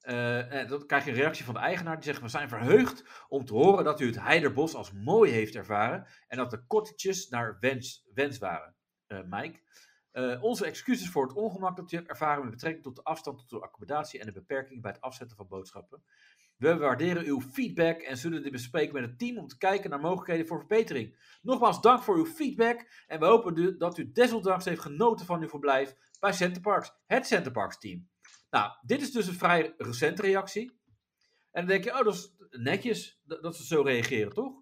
Eh, en dan krijg je een reactie van de eigenaar die zegt: We zijn verheugd om te horen dat u het Heiderbos als mooi heeft ervaren en dat de cottages naar wens, wens waren. Eh Mike. eh, onze excuses voor het ongemak dat u hebt ervaren met betrekking tot de afstand tot de accommodatie en de beperking bij het afzetten van boodschappen. We waarderen uw feedback en zullen dit bespreken met het team om te kijken naar mogelijkheden voor verbetering. Nogmaals dank voor uw feedback en we hopen du- dat u desondanks heeft genoten van uw verblijf bij Centerparks, het Centerparks team. Nou, dit is dus een vrij recente reactie. En dan denk je, oh, dat is netjes dat, dat ze zo reageren, toch?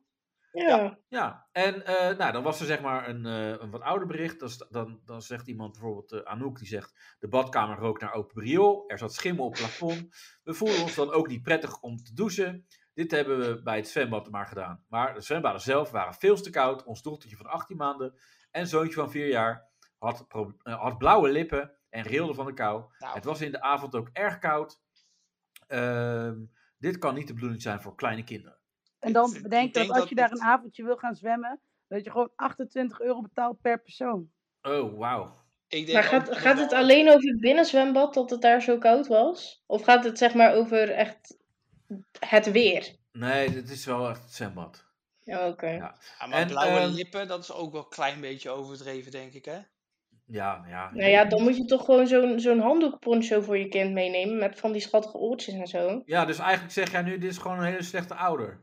Ja.
Ja, en eh, nou, dan was er zeg maar een, eh, een wat ouder bericht. Dan, sta- dan, dan zegt iemand bijvoorbeeld eh, Anouk, die zegt... De badkamer rook naar open riool, er zat schimmel op het plafond. We voelden ons dan ook niet prettig om te douchen. Dit hebben we bij het zwembad maar gedaan. Maar de zwembaden zelf waren veel te koud. Ons dochtertje van 18 maanden en zoontje van 4 jaar had, pro- eh, had blauwe lippen en rilde van de kou.
Nou,
Het was in de avond ook erg koud. Ehm, dit kan niet de bedoeling zijn voor kleine kinderen.
En dan
Ik
bedenk dat
denk
als
dat
je daar
het-
een avondje wil gaan zwemmen, dat je gewoon 28 euro betaalt per persoon.
Oh, wauw.
ik denk
Maar
ook
gaat,
dat
gaat het
wel-
alleen over het binnenzwembad dat het daar zo koud was? Of gaat het zeg maar over echt het weer?
Nee, dit is wel echt het zwembad.
Ja, Oké.
Ja, maar
En,
blauwe
ehm,
lippen, dat is ook wel een klein beetje overdreven, denk ik, hè?
Ja, ja.
Nou ja, dan moet je toch gewoon zo'n zo'n handdoekponcho voor je kind meenemen. Met van die schattige oortjes en zo.
ja, dus eigenlijk zeg jij nu, dit is gewoon een hele slechte ouder.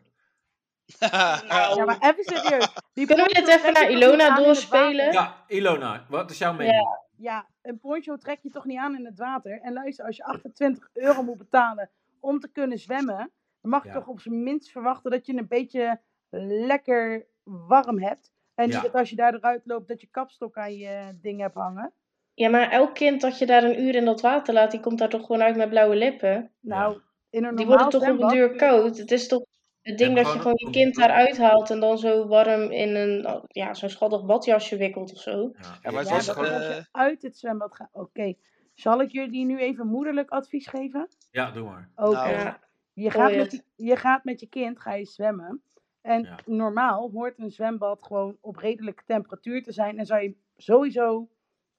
Nou,
Nou.
Ja, maar even serieus. Die
Kunnen we
poncho
dit even
trek je
naar
toch niet
Ilona
aan in het
doorspelen?
water?
Ja, Ilona, wat is jouw mening?
Ja, een poncho trek je toch niet aan in het water. En luister, als je 28 euro moet betalen om te kunnen zwemmen, dan mag je
Ja.
toch op zijn minst verwachten dat je een beetje lekker warm hebt. En niet
Ja.
dat als je daar eruit loopt, dat je kapstok aan je ding hebt hangen.
Ja, maar elk kind dat je daar een uur in dat water laat, die komt daar toch gewoon uit met blauwe lippen.
Nou, in een
Die
normaal
worden toch op een
zwembad-
duur koud. Het is toch het ding
maar
dat je
gewoon
gewoon je kind daaruit haalt en dan zo warm in een, ja, zo'n schattig badjasje wikkelt of zo.
Ja,
maar het
Ja,
was
dat
gewoon-
als
eh,
je uit het zwembad gaat. Oké, zal ik jullie nu even moederlijk advies geven?
ja, doe maar.
Oké.
Nou,
Ja,
Je
Hoor
gaat,
je
met je, je gaat met je kind ga je zwemmen. En
Ja.
normaal hoort een zwembad gewoon op redelijke temperatuur te zijn. En zou je sowieso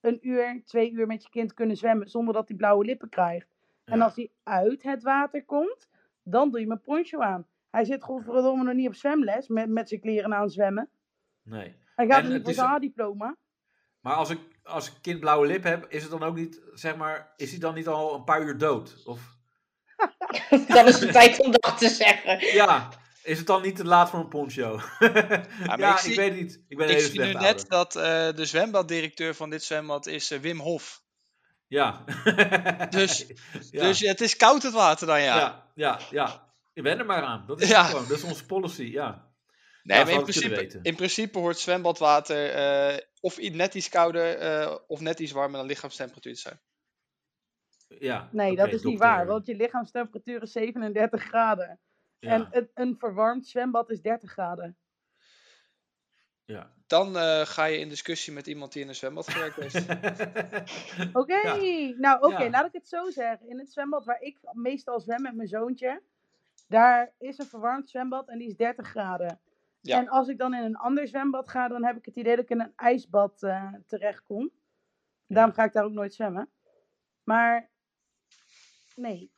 een uur, twee uur met je kind kunnen zwemmen zonder dat hij blauwe lippen krijgt. En
Ja.
als hij uit het water komt, dan doe je hem een poncho aan. Hij zit godverdomme nog niet op zwemles met, met zijn kleren aan zwemmen.
Nee.
Hij gaat
En het
er niet voor
is-
zijn diploma.
Maar als ik, als ik kind blauwe lip heb, is het dan ook niet, zeg maar, is hij dan niet al een paar uur dood? Of
dat is de tijd om dat te zeggen.
ja, is het dan niet te laat voor een poncho? ja,
ik
ik,
zie-
weet het niet. Ik ben een
ik
hele
zie nu
slechte ouder.
net dat eh, de zwembaddirecteur van dit zwembad is eh, Wim Hof.
Ja.
Dus-
ja.
Dus het is koud het water dan, ja.
ja, ja, ja. Je bent er maar aan. Dat is
Ja.
het gewoon. Dat is onze policy. Ja.
Nee,
Ja, zou ik
maar in
kunnen
principe,
weten.
in principe hoort zwembadwater eh, of i- net iets kouder eh, of net iets warmer dan lichaamstemperatuur te zijn.
ja.
Nee,
oké,
dat is niet
dokter.
waar, want je lichaamstemperatuur is 37 graden.
Ja,
En een, een verwarmd zwembad is 30 graden.
ja.
Dan eh, ga je in discussie met iemand die in een zwembad gewerkt heeft.
Oké, nou oké,
Ja.
laat ik het zo zeggen. In het zwembad waar ik meestal zwem met mijn zoontje, daar is een verwarmd zwembad en die is 30 graden.
Ja.
En als ik dan in een ander zwembad ga, dan heb ik het idee dat ik in een ijsbad eh, terechtkom. Daarom ga ik daar ook nooit zwemmen. Maar nee,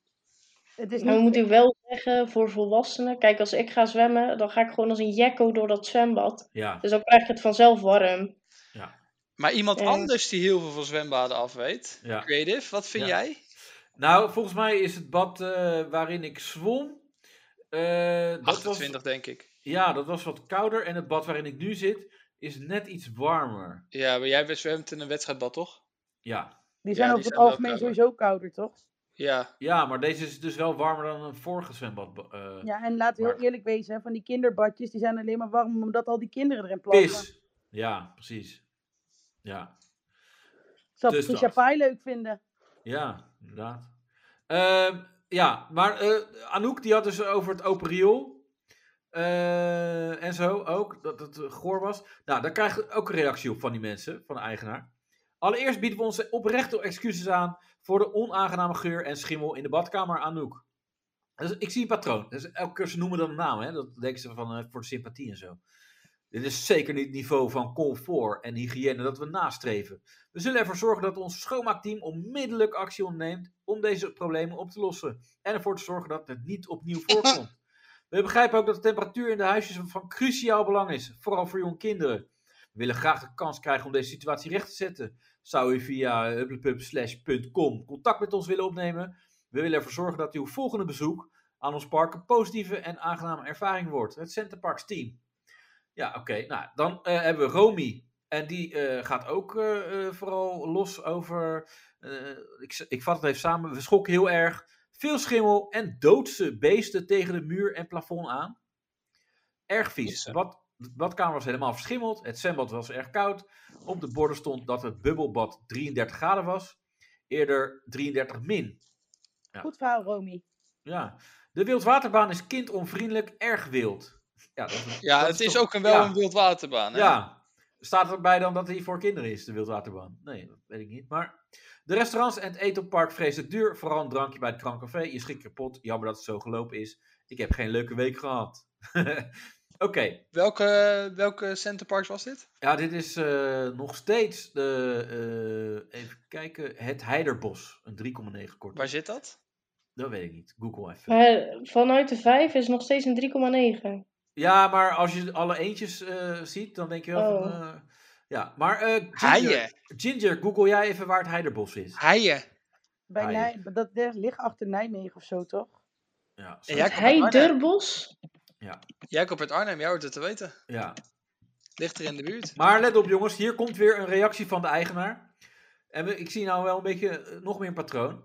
het is
Maar
niet...
Dus moet ik wel zeggen, voor volwassenen, kijk, als ik ga zwemmen, dan ga ik gewoon als een jekko door dat zwembad.
ja.
Dus dan krijg ik het vanzelf warm.
Maar iemand
Eh.
anders die heel veel van zwembaden af weet.
Ja.
Creative, wat vind
Ja.
jij?
Nou, volgens mij is het bad eh, waarin ik zwom. eh, dat was,
28, denk ik.
ja, dat was wat kouder. En het bad waarin ik nu zit is net iets warmer.
Ja, maar jij zwemt in een wedstrijdbad, toch?
Ja,
Die zijn over
Ja, die
het
zijn wel
algemeen
kouder.
sowieso kouder, toch?
Ja.
ja maar deze is dus wel warmer dan een vorige zwembad. eh,
Ja, en laten we heel
Maar-
eerlijk wezen, hè, van die kinderbadjes, die zijn alleen maar warm omdat al die kinderen erin plassen.
Pis. Ja, precies. Ja,
Zou
dus
Patricia
dat.
Pai leuk vinden?
ja, inderdaad. Ehm, ja, maar eh, Anouk die had dus over het open riool. eh, en zo ook, dat het eh, goor was. Nou, daar krijg ik ook een reactie op van die mensen, van de eigenaar. Allereerst bieden we onze oprechte excuses aan voor de onaangename geur en schimmel in de badkamer Anouk. Dus ik zie een patroon. Dus elke keer ze noemen dan een naam, hè? dat denken ze van eh, voor de sympathie en zo. Dit is zeker niet het niveau van comfort en hygiëne dat we nastreven. We zullen ervoor zorgen dat ons schoonmaakteam onmiddellijk actie onderneemt om deze problemen op te lossen. En ervoor te zorgen dat het niet opnieuw voorkomt. We begrijpen ook dat de temperatuur in de huisjes van cruciaal belang is, vooral voor jonge kinderen. We willen graag de kans krijgen om deze situatie recht te zetten. Zou u via hupplepub.com contact met ons willen opnemen? We willen ervoor zorgen dat uw volgende bezoek aan ons park een positieve en aangename ervaring wordt. Het Centerparks team. Ja, oké. Nou, dan eh, hebben we Romy. En die eh, gaat ook eh, eh, vooral los over. eh, ik, s- ik vat het even samen. We schokken heel erg. Veel schimmel en doodse beesten tegen de muur en plafond aan. Erg vies.
Jeetje.
Wat, de badkamer was helemaal verschimmeld. Het zwembad was erg koud. Op de borden stond dat het bubbelbad 33 graden was. Eerder 33 min. Ja.
Goed verhaal, Romy.
Ja. De wildwaterbaan is kindonvriendelijk, erg wild. Ja, dat is,
Ja,
dat
het is
toch-
ook een, wel
ja.
een wildwaterbaan. Hè?
Ja. Staat erbij dan dat hij voor kinderen is, de wildwaterbaan? Nee, dat weet ik niet. Maar de restaurants en het etenpark vreselijk duur. Vooral een drankje bij het krancafé. Je schrik kapot. Jammer dat het zo gelopen is. Ik heb geen leuke week gehad. Oké.
Welke, welke centerparks was dit?
Ja, dit is eh, nog steeds de... eh, even kijken. Het Heiderbos. Een 3,9
Waar
kort.
zit dat?
Dat weet ik niet. Google even.
eh, Maar vanuit de vijf is nog steeds een 3,9.
Ja, maar als je alle eentjes eh, ziet, dan denk je wel van...
Oh.
eh, ja, maar eh, Ginger,
Heien.
Ginger, google jij even waar het Heiderbos is.
Heien.
Bij
Ah,
Nij, dat dat ligt achter Nijmegen of zo, toch?
Ja, zo-
En jij komt uit
Hij
Arnhem.
Durbos?
Jacob uit Arnhem, jij hoort het te weten.
ja.
Ligt er in de buurt.
Maar let op jongens, hier komt weer een reactie van de eigenaar. En we- ik zie nou wel een beetje eh, nog meer een patroon.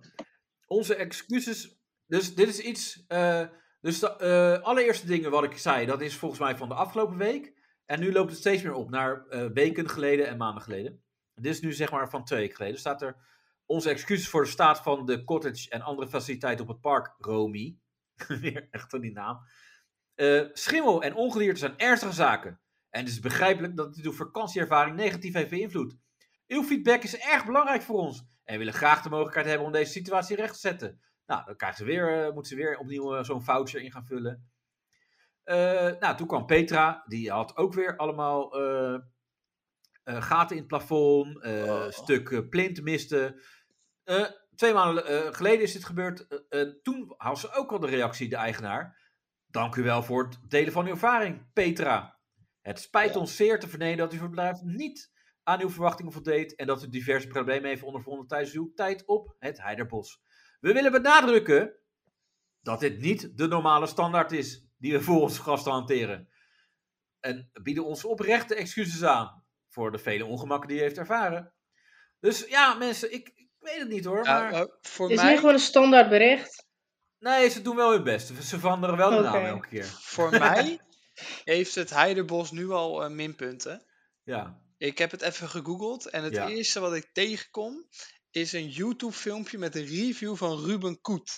Onze excuses. Dus dit is iets. eh, dus de eh, allereerste dingen wat ik zei, dat is volgens mij van de afgelopen week. En nu loopt het steeds meer op naar eh, weken geleden en maanden geleden. Dit is nu zeg maar van twee weken geleden. Staat er onze excuses voor de staat van de cottage en andere faciliteiten op het park, Romy. Weer echt van die naam. Eh, schimmel en ongedierte zijn ernstige zaken. En het is begrijpelijk dat dit uw vakantieervaring negatief heeft beïnvloed. Uw feedback is erg belangrijk voor ons. En we willen graag de mogelijkheid hebben om deze situatie recht te zetten. Nou, dan krijgen ze weer, eh, moeten ze weer opnieuw eh, zo'n voucher in gaan vullen. Eh, nou, toen kwam Petra. Die had ook weer allemaal eh, eh, gaten in het plafond. eh,
Oh.
Stuk eh, plintmisten. Eh, twee maanden eh, geleden is dit gebeurd. Eh, eh, toen had ze ook al de reactie, de eigenaar. Dank u wel voor het delen van uw ervaring, Petra. Het spijt ons zeer te vernemen dat uw verblijf niet aan uw verwachtingen voldeed en dat u diverse problemen heeft ondervonden tijdens uw tijd op het Heiderbos. We willen benadrukken dat dit niet de normale standaard is die we voor onze gasten hanteren. En bieden ons oprechte excuses aan voor de vele ongemakken die u heeft ervaren. Dus ja, mensen, ik, ik weet het niet hoor.
Ja,
maar...
eh, maar voor
Het is
mij,
nu gewoon een standaard bericht.
Nee, ze doen wel hun best. Ze veranderen wel de naam
Oké.
elke keer.
voor mij heeft het Heiderbos nu al eh, minpunten.
Ja.
Ik heb het even gegoogeld en het
Ja.
eerste wat ik tegenkom is een YouTube filmpje met een review van Ruben Koet.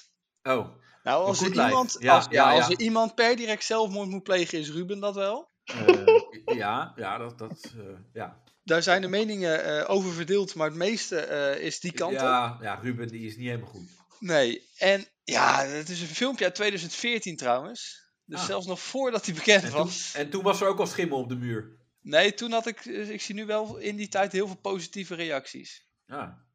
Oh,
Nou,
Een
als er,
Koetlijf.
iemand,
Ja,
als, ja,
ja,
als
ja.
er iemand per direct zelfmoord moet plegen, is Ruben dat wel.
eh, ja, ja, dat, dat, eh, ja.
Daar zijn de meningen eh, over verdeeld, maar het meeste eh, is die kant op.
ja, ja, Ruben die is niet helemaal goed.
Nee, en ja, het is een filmpje uit 2014 trouwens. Dus
Ah.
zelfs nog voordat hij bekend
En toen,
was.
en toen was er ook al schimmel op de muur.
Nee, toen had ik, eh, ik zie nu wel in die tijd heel veel positieve reacties.
Ja,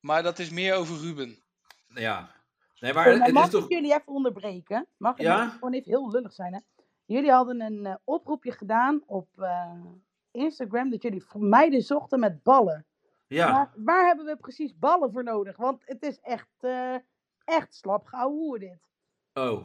Maar dat is meer over Ruben.
nou ja. Nee,
Hey,
maar
maar
het
mag
is toch...
ik jullie even onderbreken? Mag,
Ja?
mag ik gewoon even heel lullig zijn, hè? Jullie hadden een eh, oproepje gedaan op eh, Instagram dat jullie meiden zochten met ballen.
Ja.
Maar waar hebben we precies ballen voor nodig? Want het is echt, eh echt slap gehouden dit.
Oh.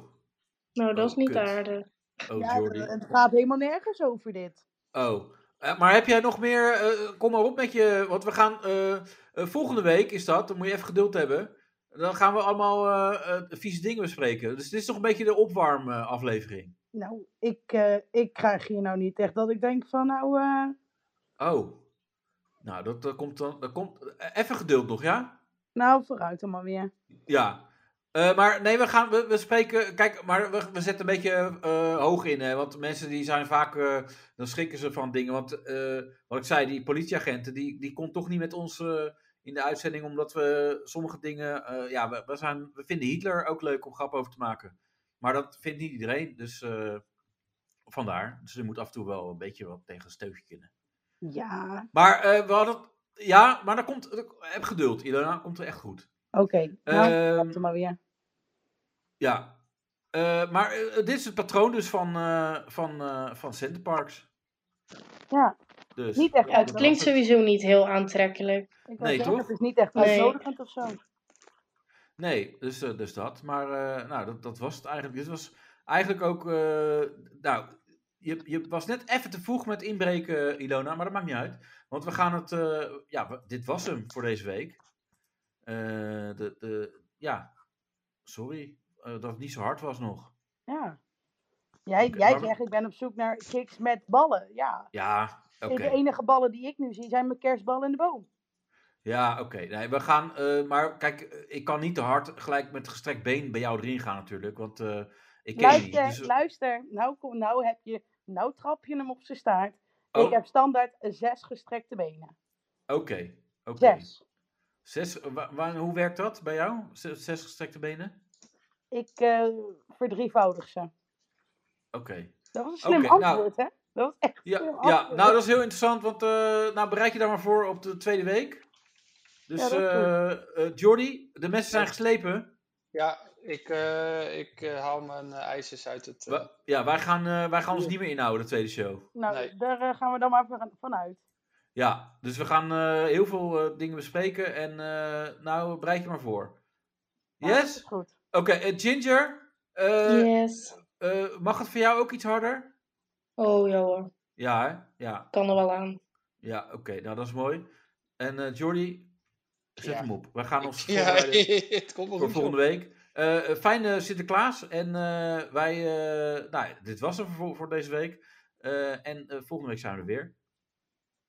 Nou, dat
Oh,
is niet
kut.
aardig.
Oh,
ja, eh,
Jordi.
het, het gaat helemaal nergens over dit.
Oh. Eh, maar heb jij nog meer... eh, kom maar op met je... Want we gaan... eh, eh, volgende week is dat. Dan moet je even geduld hebben. Dan gaan we allemaal eh, eh, vieze dingen bespreken. Dus dit is toch een beetje de opwarm eh, aflevering.
Nou, ik, eh, ik krijg hier nou niet echt dat ik denk van nou... eh,
Oh. Nou, dat, dat komt dan... Dat komt, eh, even geduld nog, ja?
nou, vooruit dan maar weer.
Ja. Eh, maar nee, we gaan, we, we spreken, kijk, maar we, we zetten een beetje eh, hoog in, hè, want mensen die zijn vaak, eh, dan schrikken ze van dingen, want eh, wat ik zei, die politieagenten, die, die komt toch niet met ons eh, in de uitzending, omdat we sommige dingen, eh, ja, we, we, zijn, we vinden Hitler ook leuk om grap over te maken, maar dat vindt niet iedereen, dus eh, vandaar, dus je moet af en toe wel een beetje wat tegen een steutje kunnen.
Ja,
Maar eh, we hadden, ja, maar dan komt, heb geduld, Ilona, komt er echt goed.
oké. nou,
Ehm,
vooruit dan maar weer.
Ja. Eh, maar eh, dit is het patroon dus van, eh van, eh van Centerparks.
Ja,
Dus,
niet echt
Ja, het klinkt sowieso niet heel aantrekkelijk.
Ik wou
Nee,
zeggen,
toch?
Het is niet echt
Nee.
uitnodigend of zo.
Nee, dus, eh, dus dat. Maar eh, nou, dat, dat was het eigenlijk. Dit was eigenlijk ook... eh, nou, je, je was net even te vroeg met inbreken, Ilona. Maar dat maakt niet uit. Want we gaan het... eh, ja, we- dit was hem voor deze week. Eh, de, de, ja, sorry eh, dat het niet zo hard was nog.
Ja. Jij,
Oké,
jij
maar we-
zegt, ik ben op zoek naar kicks met ballen. Ja.
Ja, oké.
De enige ballen die ik nu zie zijn mijn kerstballen in de boom.
Ja, oké. Nee, we gaan. eh, maar kijk, eh, ik kan niet te hard gelijk met gestrekt been bij jou erin gaan, natuurlijk. Want eh, ik ken je niet.
Luister,
Dus,
luister. Nou, kom, nou heb je, nou trap je hem op zijn staart.
oh,
Ik heb standaard zes gestrekte benen.
Oké. oké.
Zes.
Zes, eh, wa- wa- hoe werkt dat bij jou? Zes, zes gestrekte benen?
Ik eh, verdrievoudig ze.
Oké.
Dat was een slim
Oké, nou-
antwoord, hè? Dat was echt een
Ja,
slim
ja,
antwoord.
nou dat is heel interessant, want eh, nou, bereid je daar maar voor op de tweede week. Dus
Ja, dat
eh
is
eh, Jordi, de mensen zijn geslepen.
Ja, Ik, eh, ik eh, haal mijn eh, ijsjes uit het... eh,
Wa- ja, wij gaan, eh, wij gaan ons niet meer inhouden, de tweede show.
Nou,
Nee.
daar eh, gaan we dan maar van- vanuit.
Ja, dus we gaan eh, heel veel eh, dingen bespreken. En eh, nou, bereid je maar voor.
Nou, Dat is
Yes?
goed.
Oké, eh, Ginger, eh,
yes.
eh, mag het voor jou ook iets harder?
Oh ja hoor,
Ja, hè? Ja,
kan er wel aan.
ja oké. Nou, dat is mooi. En eh Jordi, zet
Ja.
hem op. We gaan ons
ja,
voorbereiden.
het komt nog
voor
goed.
volgende
joh.
week. Eh, eh, fijne Sinterklaas. En eh, wij, eh, nou, ja, dit was hem voor, voor deze week. Eh, en eh, volgende week zijn we er weer.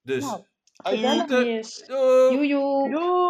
Dus,
Nou,
Ajoe.
gezellig.
groeten.
Yes.
doei!
Joejoe.
Doei.